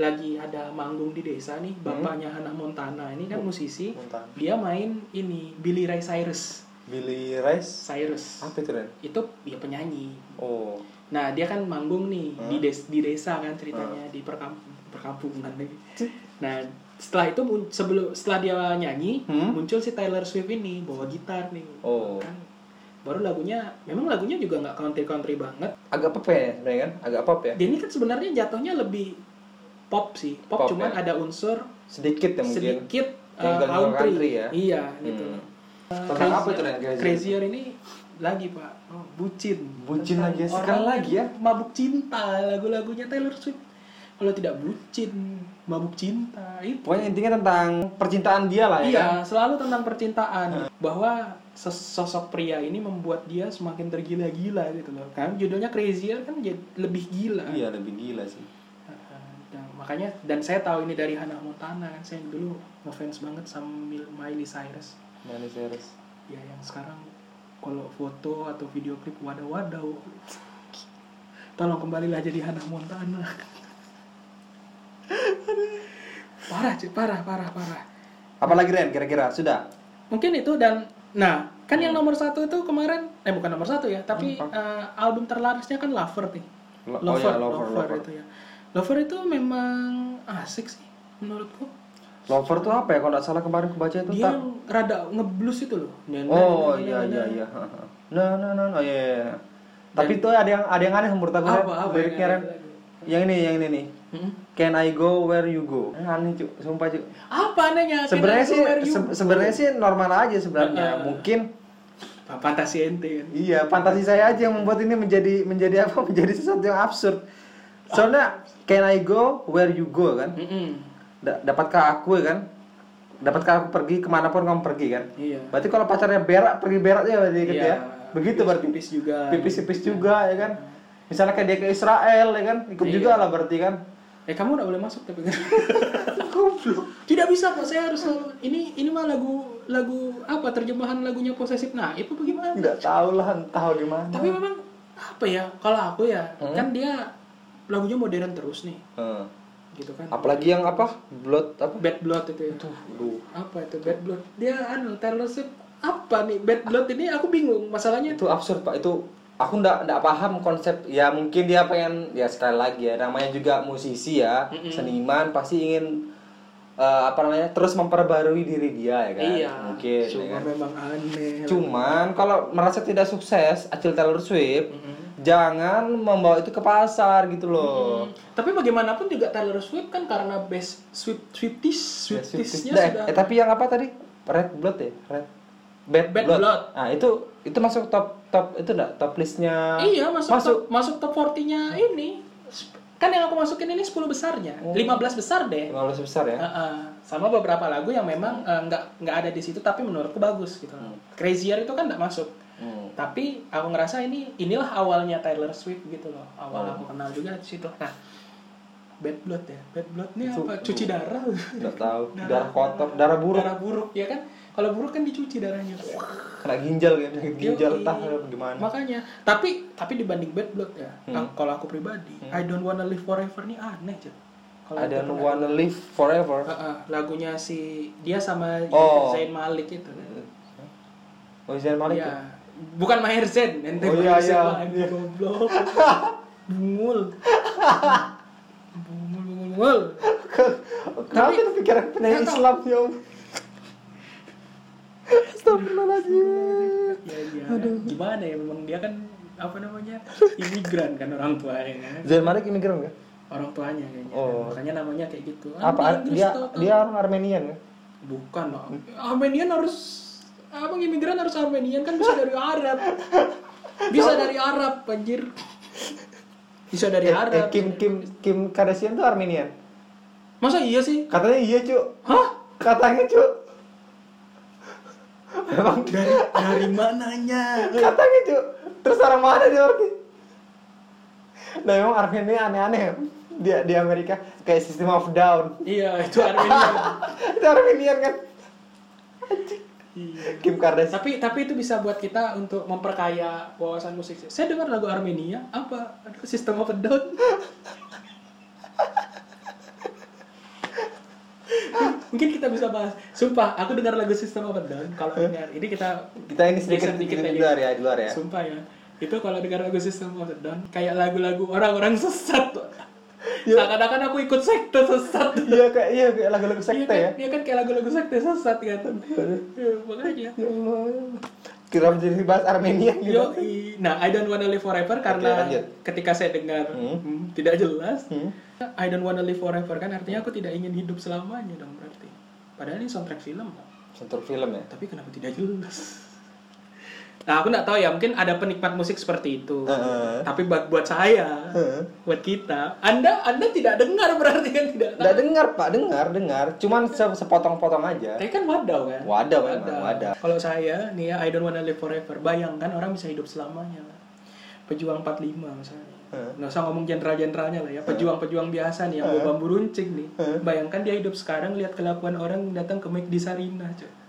lagi ada manggung di desa nih bapaknya Hannah Montana ini kan musisi Hmm. Oh, Montana. dia main ini Billy Ray Cyrus Billy Rice. Cyrus Apa itu, Ren? itu dia penyanyi Oh. Nah, dia kan manggung nih di, des- di desa kan ceritanya di perkamp perkampungan lagi. Nah, setelah itu mun- sebelum setelah dia nyanyi, Hmm? muncul si Taylor Swift ini bawa gitar nih. Oh. Kan baru lagunya memang lagunya juga nggak country-country banget. Agak pop ya sebenarnya kan? Agak pop ya. Dia ini kan sebenarnya jatuhnya lebih pop sih. Pop, Pop, cuman ya? ada unsur Sedikit ya mungkin. sedikit Yang uh, nggak country. country ya? Iya, gitu. Hmm. Tentang apa itu, Ren? Crazier ini lagi pak Oh, bucin Bucin Tentang lagi ya, orang sekali lagi ya. yang mabuk cinta lagu-lagunya Taylor Swift kalau tidak bucin mabuk cinta itu Pokoknya intinya tentang percintaan dia lah ya kan? iya selalu tentang percintaan bahwa sosok pria ini membuat dia semakin tergila-gila gitu loh kan judulnya Crazier kan jadi lebih gila Iya, lebih gila sih. Nah, makanya dan saya tahu ini dari Hannah Montana kan saya dulu ngefans banget sama Mil- Miley Cyrus Miley Cyrus. ya yang sekarang kalau foto atau video klip wadah-wadah tolong kembalilah jadi Hannah Montana parah cuy parah parah parah Apalagi Ren kira-kira sudah. mungkin itu dan nah kan Hmm. yang nomor satu itu kemarin eh bukan nomor satu ya tapi eh, album terlarisnya kan Lover nih Lo- oh Lover, ya, Lover, Lover. itu ya Lover itu memang asik sih menurutku Lover tuh apa ya kalau nggak salah kemarin kebaca itu dia tak. yang rada ngeblus itu loh Dan- Oh dan- iya dan- iya dan- iya. Nah nah nah nah iya. iya. Tapi itu ada yang ada yang aneh menurut aku Ren. Apa, apa liriknya yang Hmm? Ren. Yang ini yang ini nih. Mm-mm. Can I go where you go? Eh, Aneh cuy, sumpah cuy. apa nanya Sebenarnya sih se- sebenarnya sih normal aja sebenarnya. Mungkin fantasi ente kan Iya, fantasi saya aja yang membuat ini menjadi menjadi apa? Menjadi sesuatu yang absurd. Soalnya can I go where you go kan? Mm-mm. Da- dapatkah aku ya kan? Dapatkah aku pergi kemanapun kamu pergi kan? iya Berarti kalau pacarnya berak pergi berak aja berarti gitu Iya. ya. Begitu berarti pipis juga pipis-pipis juga ya kan? Misalnya kayak dia ke Israel ya kan? Ikut Iya. juga lah berarti kan? eh kamu udah boleh masuk tapi tidak bisa pak saya harus ini ini mah lagu lagu apa terjemahan lagunya posesif nah itu bagaimana Enggak tahu lah entah gimana. tapi memang apa ya kalau aku ya Hmm? kan dia lagunya modern terus nih Eh, gitu kan Apalagi yang apa? Blood apa? bad blood itu ya Aduh. apa itu bad blood dia anu Taylor Swift apa nih bad blood ini aku bingung masalahnya itu absurd pak itu aku ndak ndak paham konsep ya mungkin dia pengen ya sekali lagi ya namanya juga musisi ya seniman pasti ingin eh, apa namanya terus memperbarui diri dia ya kan mungkin ya Iya. cuma kan? memang aneh cuman kalau merasa tidak sukses Acil Taylor Swift jangan membawa itu ke pasar gitu loh tapi bagaimanapun juga Taylor Swift kan karena best Swift Swifties Swiftiesnya Nah, eh, sudah eh, tapi yang apa tadi red blood ya red bad, Bad blood. Blood. nah itu itu masuk top top itu enggak top listnya Iya, masuk masuk top, masuk top 40-nya ini. Kan yang aku masukin ini 10 besarnya, Oh. 15 besar deh. 15 besar ya Heeh. Sama beberapa lagu yang memang eh, nggak nggak ada di situ tapi menurutku bagus gitu. Crazier itu kan nggak masuk. Hmm. Tapi aku ngerasa ini inilah awalnya Taylor Swift gitu loh. Oh. Awal aku kenal juga di situ. Nah, Bad Blood ya. Bad Blood ini Itu- apa? Cuci darah. Nggak tahu. Darah kotor, darah buruk, Darah buruk ya kan? Kalau buruk kan dicuci darahnya. kena ginjal kayak penyakit ginjal Yoi. entah gimana. Hmm. Makanya, tapi tapi dibanding Bad Blood ya, ang- kalau aku pribadi, I Don't Wanna Live Forever nih aneh aja. Kalau I itu kan don't wanna live forever. Heeh, lagunya si dia sama Oh. Zayn Malik itu. Oh, Zayn Malik. ya? Iya. Bukan Maher Zain, ente Oh, iya, Maher Zain iya. lagi, goblok. Bungul. Bungul, bungul, bungul. Kenapa itu pikiran penyanyi Nggak tahu. Islam ya? Om? Astagfirullahaladzim. Ya, iya. Gimana ya memang dia kan apa namanya? imigran kan orang tuanya kan. Zayn Malik imigran nggak? orang tuanya kayaknya Oh. makanya namanya kayak gitu Ah, Apa di Inggris dia tau-tau. dia orang Armenian ya? bukan lah Armenian harus abang imigran harus Armenian kan bisa dari Arab bisa dari Arab anjir bisa dari Eh, Arab Kim Kim Kim Kardashian tuh Armenian. masa iya sih Katanya iya, Cuk. hah Katanya, Cuk. Emang dari dari mananya katanya cu terus orang mana dia berarti nah memang Armenia aneh-aneh ya. dia di Amerika kayak sistem of down iya itu Armenian itu Armenian kan Iya. Kim Kardashian tapi tapi itu bisa buat kita untuk memperkaya wawasan musik saya dengar lagu Armenia apa aduh sistem of a down mungkin kita bisa bahas sumpah aku dengar lagu sistem of a down kalau dengar ini kita kita ini sedikit geser sedikit aja. di luar ya di luar ya sumpah ya itu kalau dengar lagu sistem of a down kayak lagu-lagu orang-orang sesat Iya. seakan-akan aku ikut sekte sesat iya kayak iya kayak lagu-lagu Iya sekte kan, ya Iya kan kayak lagu-lagu sekte sesat kan Iya, makanya ya Allah kira menjadi bahas Armenia gitu Yo, i- nah I don't wanna live forever karena lanjut. ketika saya dengar Hmm. hmm, tidak jelas, Hmm. I don't wanna live forever kan artinya aku tidak ingin hidup selamanya dong berarti. Padahal ini soundtrack film, Pak. sentuh film ya tapi kenapa tidak jelas? Nah aku nggak tahu ya mungkin ada penikmat musik seperti itu, Heeh. tapi buat buat saya, Heeh. buat kita, anda anda tidak dengar berarti kan tidak. tahu. Nggak dengar pak dengar dengar cuman se- sepotong-potong aja Tapi kan wadaw kan? Wadah memang, wadah. Kalau saya nih ya, I don't wanna live forever. Bayangkan orang bisa hidup selamanya. Pejuang 45 misalnya. Nggak usah ngomong jenderal-jenderalnya lah ya. Pejuang-pejuang biasa nih, yang bawa bambu runcing nih. Bayangkan dia hidup sekarang, lihat kelakuan orang yang datang ke McD Sarina. cuy.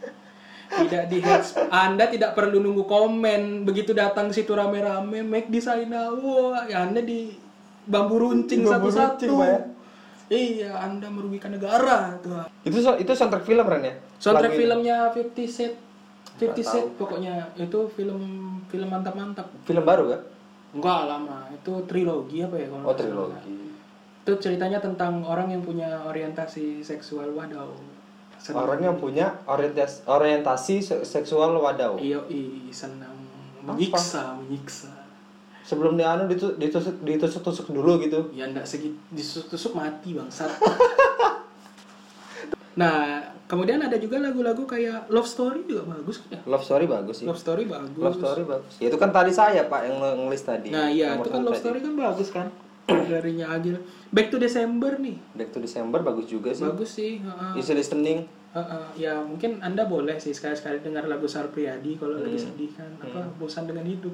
Tidak di headsp- Anda tidak perlu nunggu komen. Begitu datang ke situ rame-rame, McD Sarina. Wah, ya Anda di bambu runcing Bambu runcing, satu-satu. Pak, ya. Iya, Anda merugikan negara. Tuhan. Itu so- itu soundtrack film Ren ya? Soundtrack Lagu ini. filmnya 50 Cent. 50 Nggak Cent pokoknya itu film film mantap-mantap. Film baru kan? Enggak lama, itu trilogi apa ya kalau Oh nggak salah. trilogi. Itu ceritanya tentang orang yang punya orientasi seksual wadaw. Senang. Orang yang punya orientasi, orientasi se- seksual wadaw. Iya, i- senang menyiksa, menyiksa. Sebelum dia anu ditu- ditusuk ditusuk-tusuk dulu gitu. Ya ndak segit ditusuk-tusuk mati bangsat. nah, kemudian ada juga lagu-lagu kayak Love Story juga bagus kan ya. Love story bagus sih. Love Story bagus. Love story bagus. Ya, itu kan tadi saya Pak yang nge- ngelis tadi. Nah, iya, Nomor itu kan satu Love tadi. Story kan bagus kan. Darinya Agil. Back to December nih. Back to December bagus juga sih. Iya. Bagus sih. heeh. Easy listening. Heeh, ya mungkin anda boleh sih sekali-sekali dengar lagu Sarpriyadi kalau lagi Iya. sedih kan apa bosan dengan hidup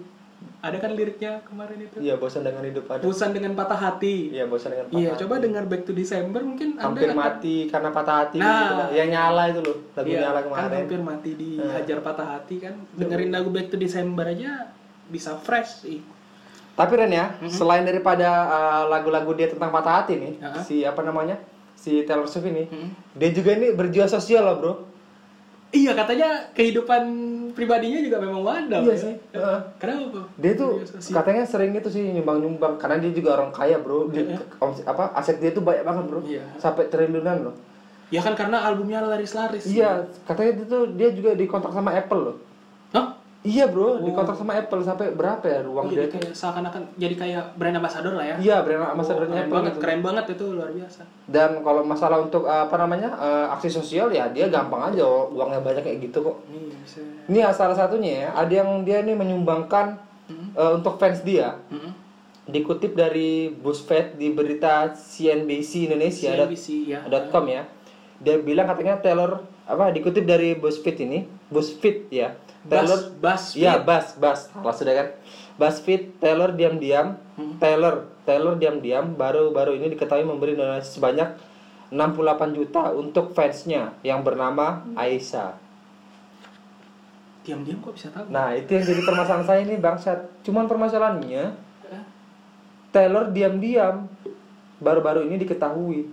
ada kan liriknya kemarin itu Iya, bosan dengan hidup ada. bosan dengan patah hati Iya, bosan dengan patah iya hati. coba dengar Back to December mungkin anda hampir mati karena patah hati Nah. gitu kan. Yang nyala itu loh, lagu Iya, nyala kan kemarin. Iya. hampir mati dihajar patah hati kan dengerin lagu Back to December aja bisa fresh sih Tapi Ren ya, Mm-hmm. selain daripada uh, lagu-lagu dia tentang patah hati nih, Heeh. si apa namanya? Si Taylor Swift ini, Mm. dia juga ini berjiwa sosial loh, Bro. iya katanya kehidupan pribadinya juga memang wadaw Iya ya. sih, Iya, heeh. kenapa Dia tuh katanya sering itu sih nyumbang-nyumbang karena dia juga orang kaya, Bro. Dia, om- apa aset dia tuh banyak banget, Bro. Iya. Sampai triliunan loh. ya kan karena albumnya laris-laris Iya, katanya itu tuh dia juga dikontrak sama Apple loh. Hah? Iya, Bro, dikontrak sama Apple sampai berapa ya Oh, ruang dia jadi tuh? kayak seakan-akan jadi kayak brand ambassador lah ya. Iya, brand ambassadornya keren Apple. banget, gitu. keren banget itu luar biasa. Dan kalau masalah untuk eh, apa namanya eh, aksi sosial ya dia gampang aja uangnya banyak kayak gitu kok. Nih bisa. Ini salah satunya ya, ada yang dia nih menyumbangkan eh, untuk fans dia. Mm-mm. Dikutip dari BuzzFeed di berita CNBC Indonesia Iya, ada CNBC ya. com ya. Dia bilang katanya Taylor apa dikutip dari BuzzFeed ini, BuzzFeed ya. Taylor Bas, bas. Iya, Bas, Bas. Salah sudah kan. BuzzFeed Taylor diam-diam, Taylor, Taylor diam-diam baru-baru ini diketahui memberi donasi sebanyak 68 juta untuk fansnya yang bernama Aisyah. Diam-diam kok bisa tahu? Nah, itu yang jadi permasalahan saya ini bangsat. Cuman permasalahannya Eh, Taylor diam-diam baru-baru ini diketahui.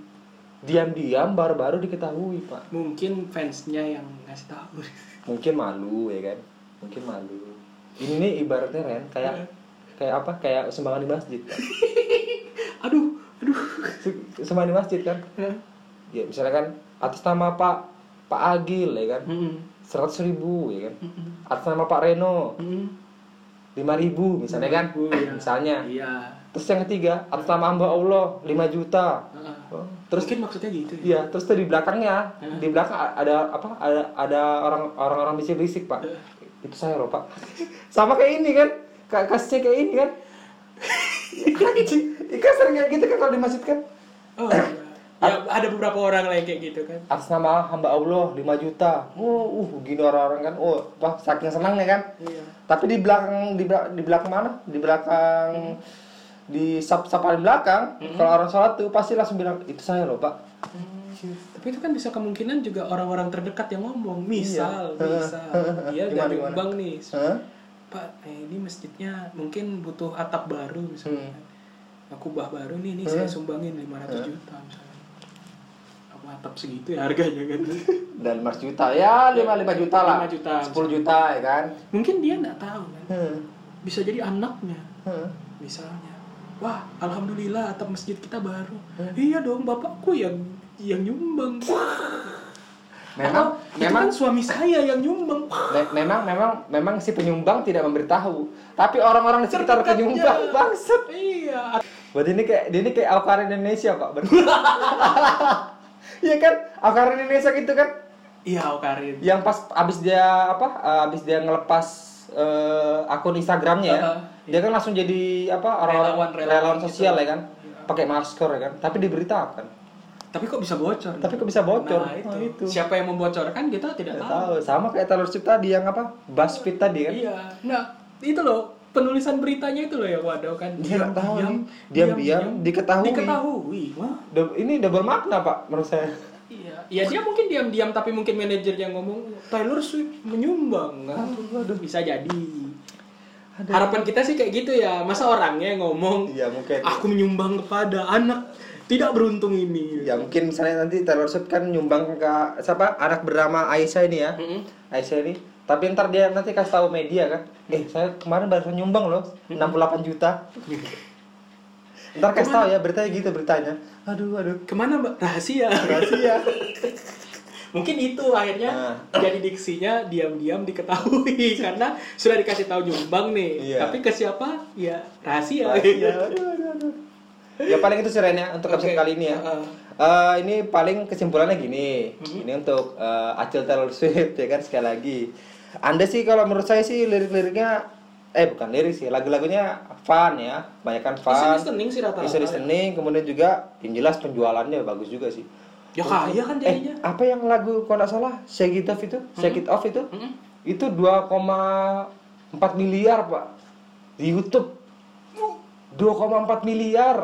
Diam-diam baru-baru diketahui, Pak. Mungkin fansnya yang ngasih tahu. mungkin malu ya kan mungkin malu ini nih ibaratnya Ren kayak kayak apa kayak sumbangan di masjid aduh, aduh. Se- sumbangan di masjid kan Eh, ya misalnya kan atas nama Pak Pak Agil ya kan mm-mm, seratus ribu ya kan mm-mm, atas nama Pak Reno mm-mm. lima ribu misalnya kan Oh, iya. misalnya Iya. terus yang ketiga atas nama hamba Allah 5 juta Heeh. Oh, Terus terus kan maksudnya gitu ya. Iya, terus tuh di belakangnya, Hmm. di belakang a- ada apa? Ada ada orang orang orang bisik bisik pak. Hmm. Itu saya loh pak. Sama kayak ini kan, Ka- kasusnya kayak ini kan. Anjing, Ika sering kayak gitu kan kalau di masjid kan. Oh, iya. ya ada beberapa orang lah yang kayak gitu kan. Atas nama hamba Allah 5 juta. Oh, uh, gini orang-orang kan. Oh, wah saking senangnya kan. Iya. Tapi di belakang di, bela- di belakang mana? Di belakang di sap sap paling belakang kalau orang sholat tuh pasti langsung bilang itu saya loh pak Tapi itu kan bisa kemungkinan juga orang-orang terdekat yang ngomong. Iya. Misal, misal dia Gimana, dari gimana? Umbang nih. Hah? Pak, eh, ini masjidnya mungkin butuh atap baru misalnya. Hmm. Aku bah baru nih, nih saya sumbangin 500 juta misalnya. Aku atap segitu ya harganya kan. dan 5 juta ya 5 5 juta lah 5 juta. 10 juta ya kan mungkin dia nggak tahu kan. Heeh. Bisa jadi anaknya Heeh. misalnya. Wah, alhamdulillah atap masjid kita baru. Iya dong, bapakku yang yang nyumbang. memang Atau, itu memang kan suami saya yang nyumbang. me- memang memang memang si penyumbang tidak memberitahu tapi orang-orang di sekitar Terdekatnya. penyumbang bangset Iya, berarti ini kayak dia ini kayak Alkarin Indonesia pak berarti Iya kan Alkarin Indonesia gitu kan iya Karin. yang pas abis dia apa eh, abis dia ngelepas eh, akun Instagramnya ya, Heeh. dia kan langsung jadi apa orang Relawan- relawan, relawan gitu. sosial ya kan pakai masker ya kan tapi diberitakan Tapi kok bisa bocor? Tapi kok bisa bocor? Nah, itu. Nah, itu. Siapa yang membocorkan kita tidak Nggak tahu. tahu sama kayak Taylor Swift tadi yang apa Buzzfeed tadi kan Iya. Nah, itu loh penulisan beritanya itu loh yang waduh kan. Dia nggak tahu nih. Diam-diam, diketahui. Diketahui. Wah. Dou- ini double makna pak menurut saya Iya. Ya dia mungkin diam-diam tapi mungkin manajer yang ngomong Taylor Swift menyumbang. Aduh, Bisa jadi. Harapan kita sih kayak gitu ya. Masa orangnya yang ngomong Iya, mungkin. aku menyumbang kepada anak tidak beruntung ini. Ya mungkin misalnya nanti Taylor Swift kan nyumbang ke siapa anak bernama Aisyah ini ya. Mm-mm. Aisyah ini. Tapi ntar dia nanti kasih tahu media kan. Eh saya kemarin baru nyumbang loh 68 juta. ntar kasih tahu ya beritanya gitu beritanya. Aduh ya. aduh. Kemana mbak? Rahasia. Rahasia. Mungkin itu akhirnya Ah. jadi diksinya diam-diam diketahui karena sudah dikasih tahu nyumbang nih. Iya. Tapi ke siapa? Ya rahasia. Rahasia. Aduh, aduh, aduh. Ya paling itu Siren ya untuk episode iya. Oke. kali ini ya. Heeh. Mm-hmm. Eh, ini paling kesimpulannya gini. Ini untuk eh, Acil Taylor Swift ya kan sekali lagi. Anda sih kalau menurut saya sih lirik-liriknya eh bukan lirik sih, lagu-lagunya fun ya, kebanyakan fun. Easy listening sih rata-rata Easy ya. listening, kemudian juga yang jelas penjualannya bagus juga sih. Ya kaya Eh, kan jadinya. apa yang lagu kalau nggak salah Shake It Off itu, Shake It Off itu, Mm-mm. itu 2,4 miliar pak di YouTube. 2,4 miliar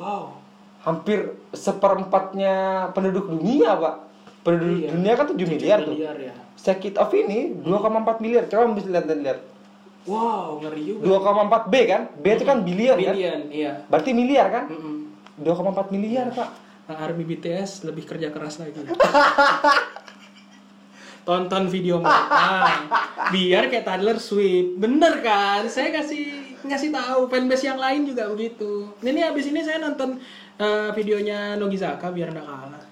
Wow. hampir seperempatnya penduduk dunia pak penduduk Iya. dunia kan 7 miliar tuh Miliar ya. sakit off ini 2,4 miliar coba bisa lihat lihat Wow, ngeri juga. 2,4 b kan b itu kan biliar kan Million, iya. berarti miliar kan Mm-mm. 2,4 miliar pak Nah, Army BTS lebih kerja keras lagi. Tonton video mereka. Biar kayak Taylor Swift. Bener kan? Saya kasih ngasih tahu fanbase yang lain juga begitu. Ini habis ini saya nonton eh, videonya Nogizaka biar nggak kalah.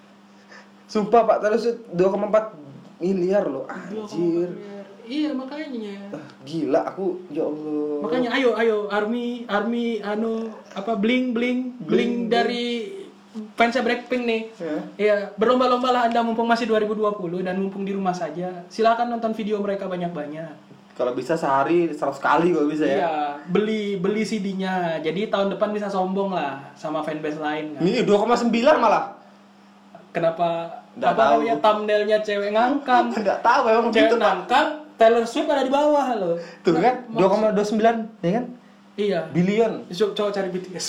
sumpah pak terus 2,4 miliar loh anjir Iya makanya. Ah, gila aku ya allah Makanya ayo ayo Army Army anu apa bling bling bling, dari fansnya Blackpink nih. Ya. Iya, berlomba-lomba lah Anda mumpung masih 2020 dan mumpung di rumah saja. Silakan nonton video mereka banyak-banyak. kalau bisa sehari 100 kali kalau bisa ya Iya, beli beli CD-nya. Jadi tahun depan bisa sombong lah sama fanbase lain kan. ini ya, 2,9 malah Kenapa Nggak apa tahu. namanya thumbnailnya cewek ngangkang? nggak tahu emang cewek gitu pak ngangkang, Taylor Swift ada di bawah loh. tuh Nah, kan 2,29 ya kan Iya. billion Besok cowok cari BTS.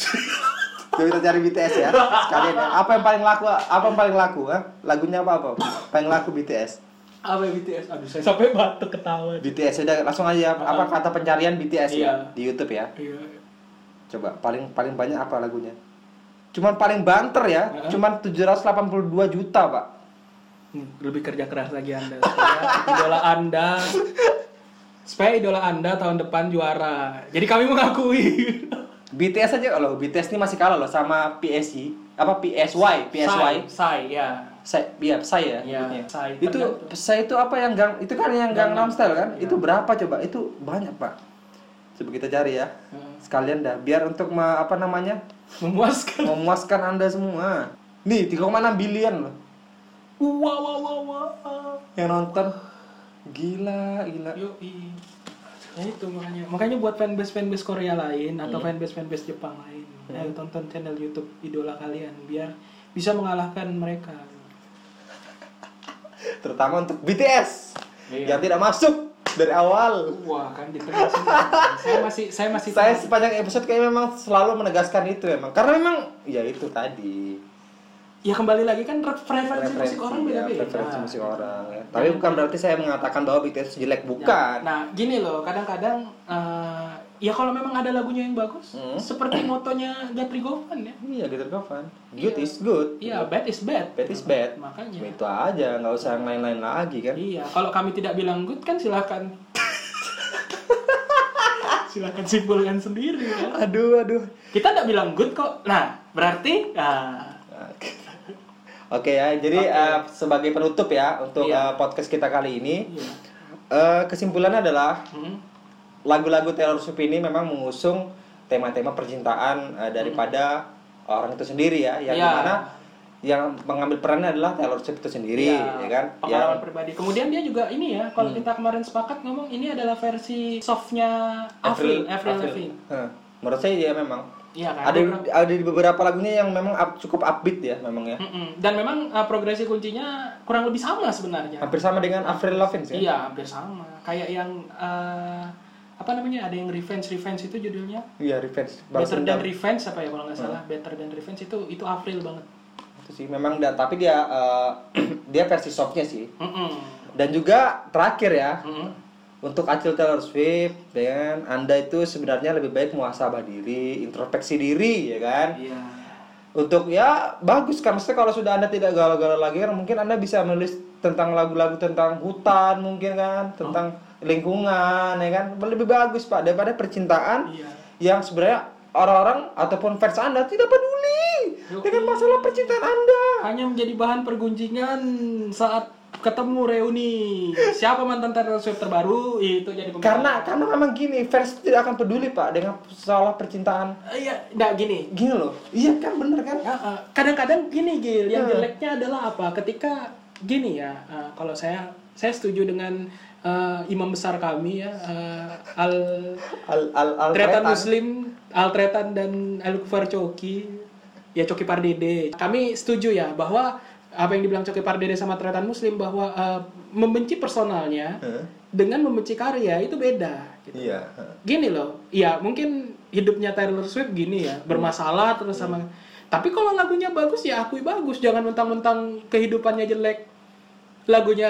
Coba kita cari BTS ya. Sekalian ya. Apa yang paling laku? Apa yang paling laku? Ha? Lagunya apa apa? Paling laku BTS. apa ya BTS? Aduh, saya sampai batuk ketawa. BTS udah langsung aja apa kata pencarian BTS Ah. Iya. ya di YouTube ya. Iya. Coba paling paling banyak apa lagunya? Cuman paling banter ya. Heeh. Cuman 782 juta, Pak. Hmm, lebih kerja keras lagi Anda. Supaya idola Anda supaya idola Anda tahun depan juara. Jadi kami mengakui. BTS aja kalau BTS ini masih kalah loh sama PSG apa PSY, PSY. Sai, Sai, ya. Saya, iya, saya Iya, ya. Psy. Itu saya itu apa yang gang itu kan yang Gangnam Style kan? Iya. Itu berapa coba? Itu banyak, Pak. Coba kita cari ya. Hmm. Sekalian dah biar untuk me- apa namanya? Memuaskan. memuaskan Anda semua. Nih, 3,6 bilion loh Wah, wah, wah, wah. wah. yang nonton. Gila, gila. Yoi. Nah itu makanya. Makanya buat fanbase fanbase Korea lain atau fanbase fanbase Jepang lain, ayo tonton channel YouTube idola kalian biar bisa mengalahkan mereka. Terutama untuk BTS Iya. yang tidak masuk dari awal. Wah, kan di tengah sini. saya masih saya masih Saya sepanjang episode kayaknya memang selalu menegaskan itu emang. Karena memang ya itu tadi. ya kembali lagi kan pre- preferensi Preferensi, musik orang ya, beda-beda. Gitu. preferensi musik orang. Tapi bukan berarti saya mengatakan bahwa BTS jelek bukan. Nah, gini loh, kadang-kadang eh, ya kalau memang ada lagunya yang bagus, Hmm. seperti motonya Gatri Govan ya. Iya, gitu Govan. Good is good. Iya, bad is bad. Hmm. Bad is bad. Makanya. Itu aja, nggak usah yang lain-lain lagi kan. Iya, kalau kami tidak bilang good kan silakan. silakan simpulkan sendiri kan. Aduh, aduh. Kita tidak bilang good kok. Nah, berarti ah, Oke Oke ya, jadi eh, sebagai penutup ya untuk eh, Iya. podcast kita kali ini, iya. Eh, kesimpulannya adalah Hmm. lagu-lagu Taylor Swift ini memang mengusung tema-tema percintaan eh, daripada orang itu sendiri ya, yang Hmm. Iya. dimana yang mengambil perannya adalah Taylor Swift itu sendiri, Iya, ya kan? Ya, Hmm. Pengalaman pribadi. Kemudian dia juga ini ya, kalau kita kemarin sepakat ngomong ini adalah versi softnya Avril, Avril Lavigne. Heh, menurut saya dia memang Iya kan? ada Beberapa- ada di beberapa lagunya yang memang up- cukup upbeat ya, memang ya, Mm-mm. Dan memang uh, progresi kuncinya kurang lebih sama sebenarnya. hampir sama dengan Avril Lavigne sih. Hmm. Iya, hampir sama. Kayak yang uh, apa namanya? Ada yang revenge, revenge itu judulnya. Iya, Revenge. balas Better dendam. than revenge apa ya kalau Hmm. nggak salah? Better than revenge itu itu April banget. itu sih memang da- tapi dia eh, dia versi softnya sih Mm-mm. dan juga terakhir ya Mm-mm. untuk Acil Taylor Swift dan Anda itu sebenarnya lebih baik muhasabah diri, introspeksi diri ya kan. Iya. untuk ya bagus kan maksudnya kalau sudah anda tidak galau-galau lagi kan mungkin anda bisa menulis tentang lagu-lagu tentang hutan mungkin kan tentang lingkungan ya kan lebih bagus pak daripada percintaan Iya. yang sebenarnya orang-orang ataupun fans anda tidak peduli dengan masalah percintaan anda Hanya menjadi bahan perguncingan saat ketemu reuni. Siapa mantan Taylor Swift terbaru? Itu jadi pembicaraan. karena karena memang gini fans tidak akan peduli pak dengan masalah percintaan Eh, Iya, nah gini, gini loh iya kan bener kan Ya, eh, kadang-kadang gini Gil, yang jeleknya adalah apa? Ketika gini ya, eh, kalau saya saya setuju dengan eh, imam besar kami ya eh, Al al al al Tretan Muslim, Al Tretan dan Al Kufar Coki, ya Coki Pardede. Kami setuju ya bahwa apa yang dibilang Coki Pardede sama Tretan Muslim bahwa eh, membenci personalnya dengan membenci karya itu beda. gitu iya gini loh ya mungkin hidupnya Taylor Swift gini ya bermasalah terus sama tapi kalau lagunya bagus ya akui bagus jangan mentang-mentang kehidupannya jelek lagunya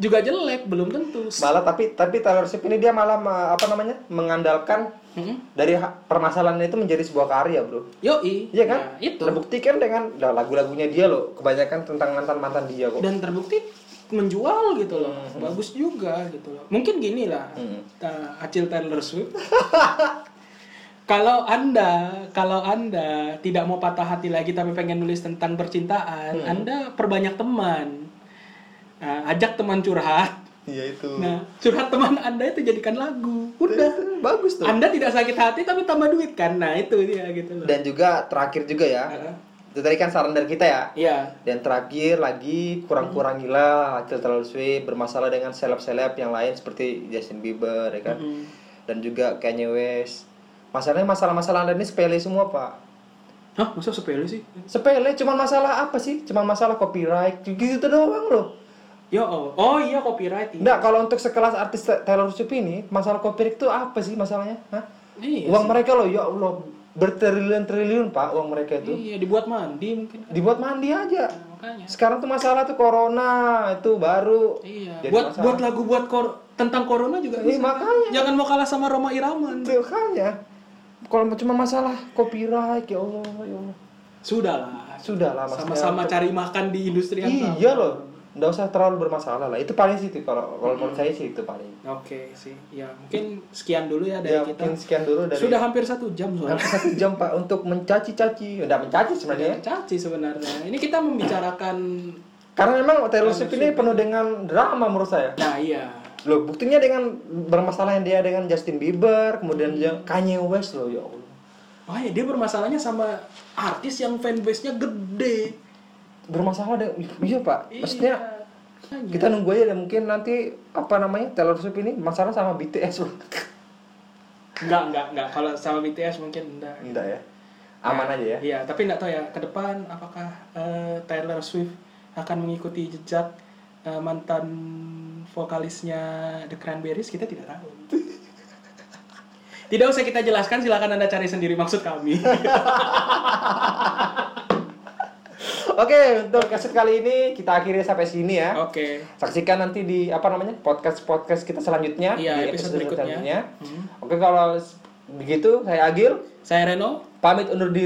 juga jelek belum tentu malah tapi tapi Taylor Swift ini dia malah me- apa namanya mengandalkan Mm-mm. dari ha- permasalahan itu menjadi sebuah karya bro yoi Iya kan? Nah, itu Terbuktikan dengan nah, lagu-lagunya dia loh, kebanyakan tentang mantan-mantan dia kok. dan terbukti menjual gitu loh bagus juga gitu loh mungkin gini lah ta- acil Taylor Swift kalau anda kalau anda tidak mau patah hati lagi tapi pengen nulis tentang percintaan anda perbanyak teman Nah, ajak teman curhat Iya itu. nah curhat teman anda itu jadikan lagu udah Bagus tuh. anda tidak sakit hati tapi tambah duit kan nah itu dia gitu loh Dan juga terakhir juga ya. Nah. Itu tadi kan saran dari kita ya. Iya, Dan terakhir lagi kurang-kurangilah Acil Taylor Swift bermasalah dengan seleb-seleb yang lain seperti Justin Bieber ya kan. Mm-hmm. Dan juga Kanye West. Masalahnya masalah-masalah Anda ini sepele semua, Pak. hah masa sepele sih Sepele, cuman masalah apa sih? Cuman masalah copyright gitu doang loh. ya oh oh iya copyright Nggak, kalau untuk sekelas artis Taylor Swift ini, masalah copyright itu apa sih masalahnya? Hah? iya uang mereka loh, ya Allah, bertriliun-triliun pak uang mereka itu. Iya, dibuat mandi mungkin kan. Dibuat mandi aja. Makanya. Sekarang tuh masalah tuh corona, itu baru. Iya. Jadi buat masalah. buat lagu buat kor- tentang corona juga Iya, bisa. makanya. Jangan mau kalah sama Roma Iraman. Itu kan Kalau cuma masalah copyright, ya Allah, ya Allah. Sudahlah. Sudah lah, maksudnya. Sama-sama cari makan di industri yang sama. Iya loh, nggak usah terlalu bermasalah lah. Itu paling sih itu, kalau kalau menurut saya sih itu paling. Oke sih. Ya, mungkin sekian dulu ya dari Ya, kita. mungkin sekian dulu dari Sudah hampir satu jam soalnya. satu ya. jam pak untuk mencaci-caci, udah mencaci sebenarnya. Iya, Caci sebenarnya. Ini kita membicarakan Karena memang Taylor Swift ini penuh dengan drama menurut saya. nah iya. Loh, buktinya dengan bermasalahnya dia dengan Justin Bieber, kemudian dia Kanye West loh ya Allah. Oh ya, dia bermasalahnya sama artis yang fanbase-nya gede. Bermasalah dengan iya Pak. Maksudnya Makanya. kita nunggu aja deh, mungkin nanti apa namanya Taylor Swift ini masalah sama BTS loh. Enggak, enggak, enggak. Kalau sama BTS mungkin enggak. Enggak ya. Aman aja ya. Iya, tapi nggak tahu ya ke depan apakah eh, Taylor Swift akan mengikuti jejak eh, mantan vokalisnya The Cranberries kita tidak tahu. tidak usah kita jelaskan, silakan anda cari sendiri maksud kami. Oke, untuk episode kali ini kita akhiri sampai sini ya. Oke. Saksikan nanti di apa namanya podcast-podcast kita selanjutnya di Iya, episode berikutnya. Hmm. selanjutnya. Oke, kalau s- begitu saya Agil Saya Reno. pamit undur diri.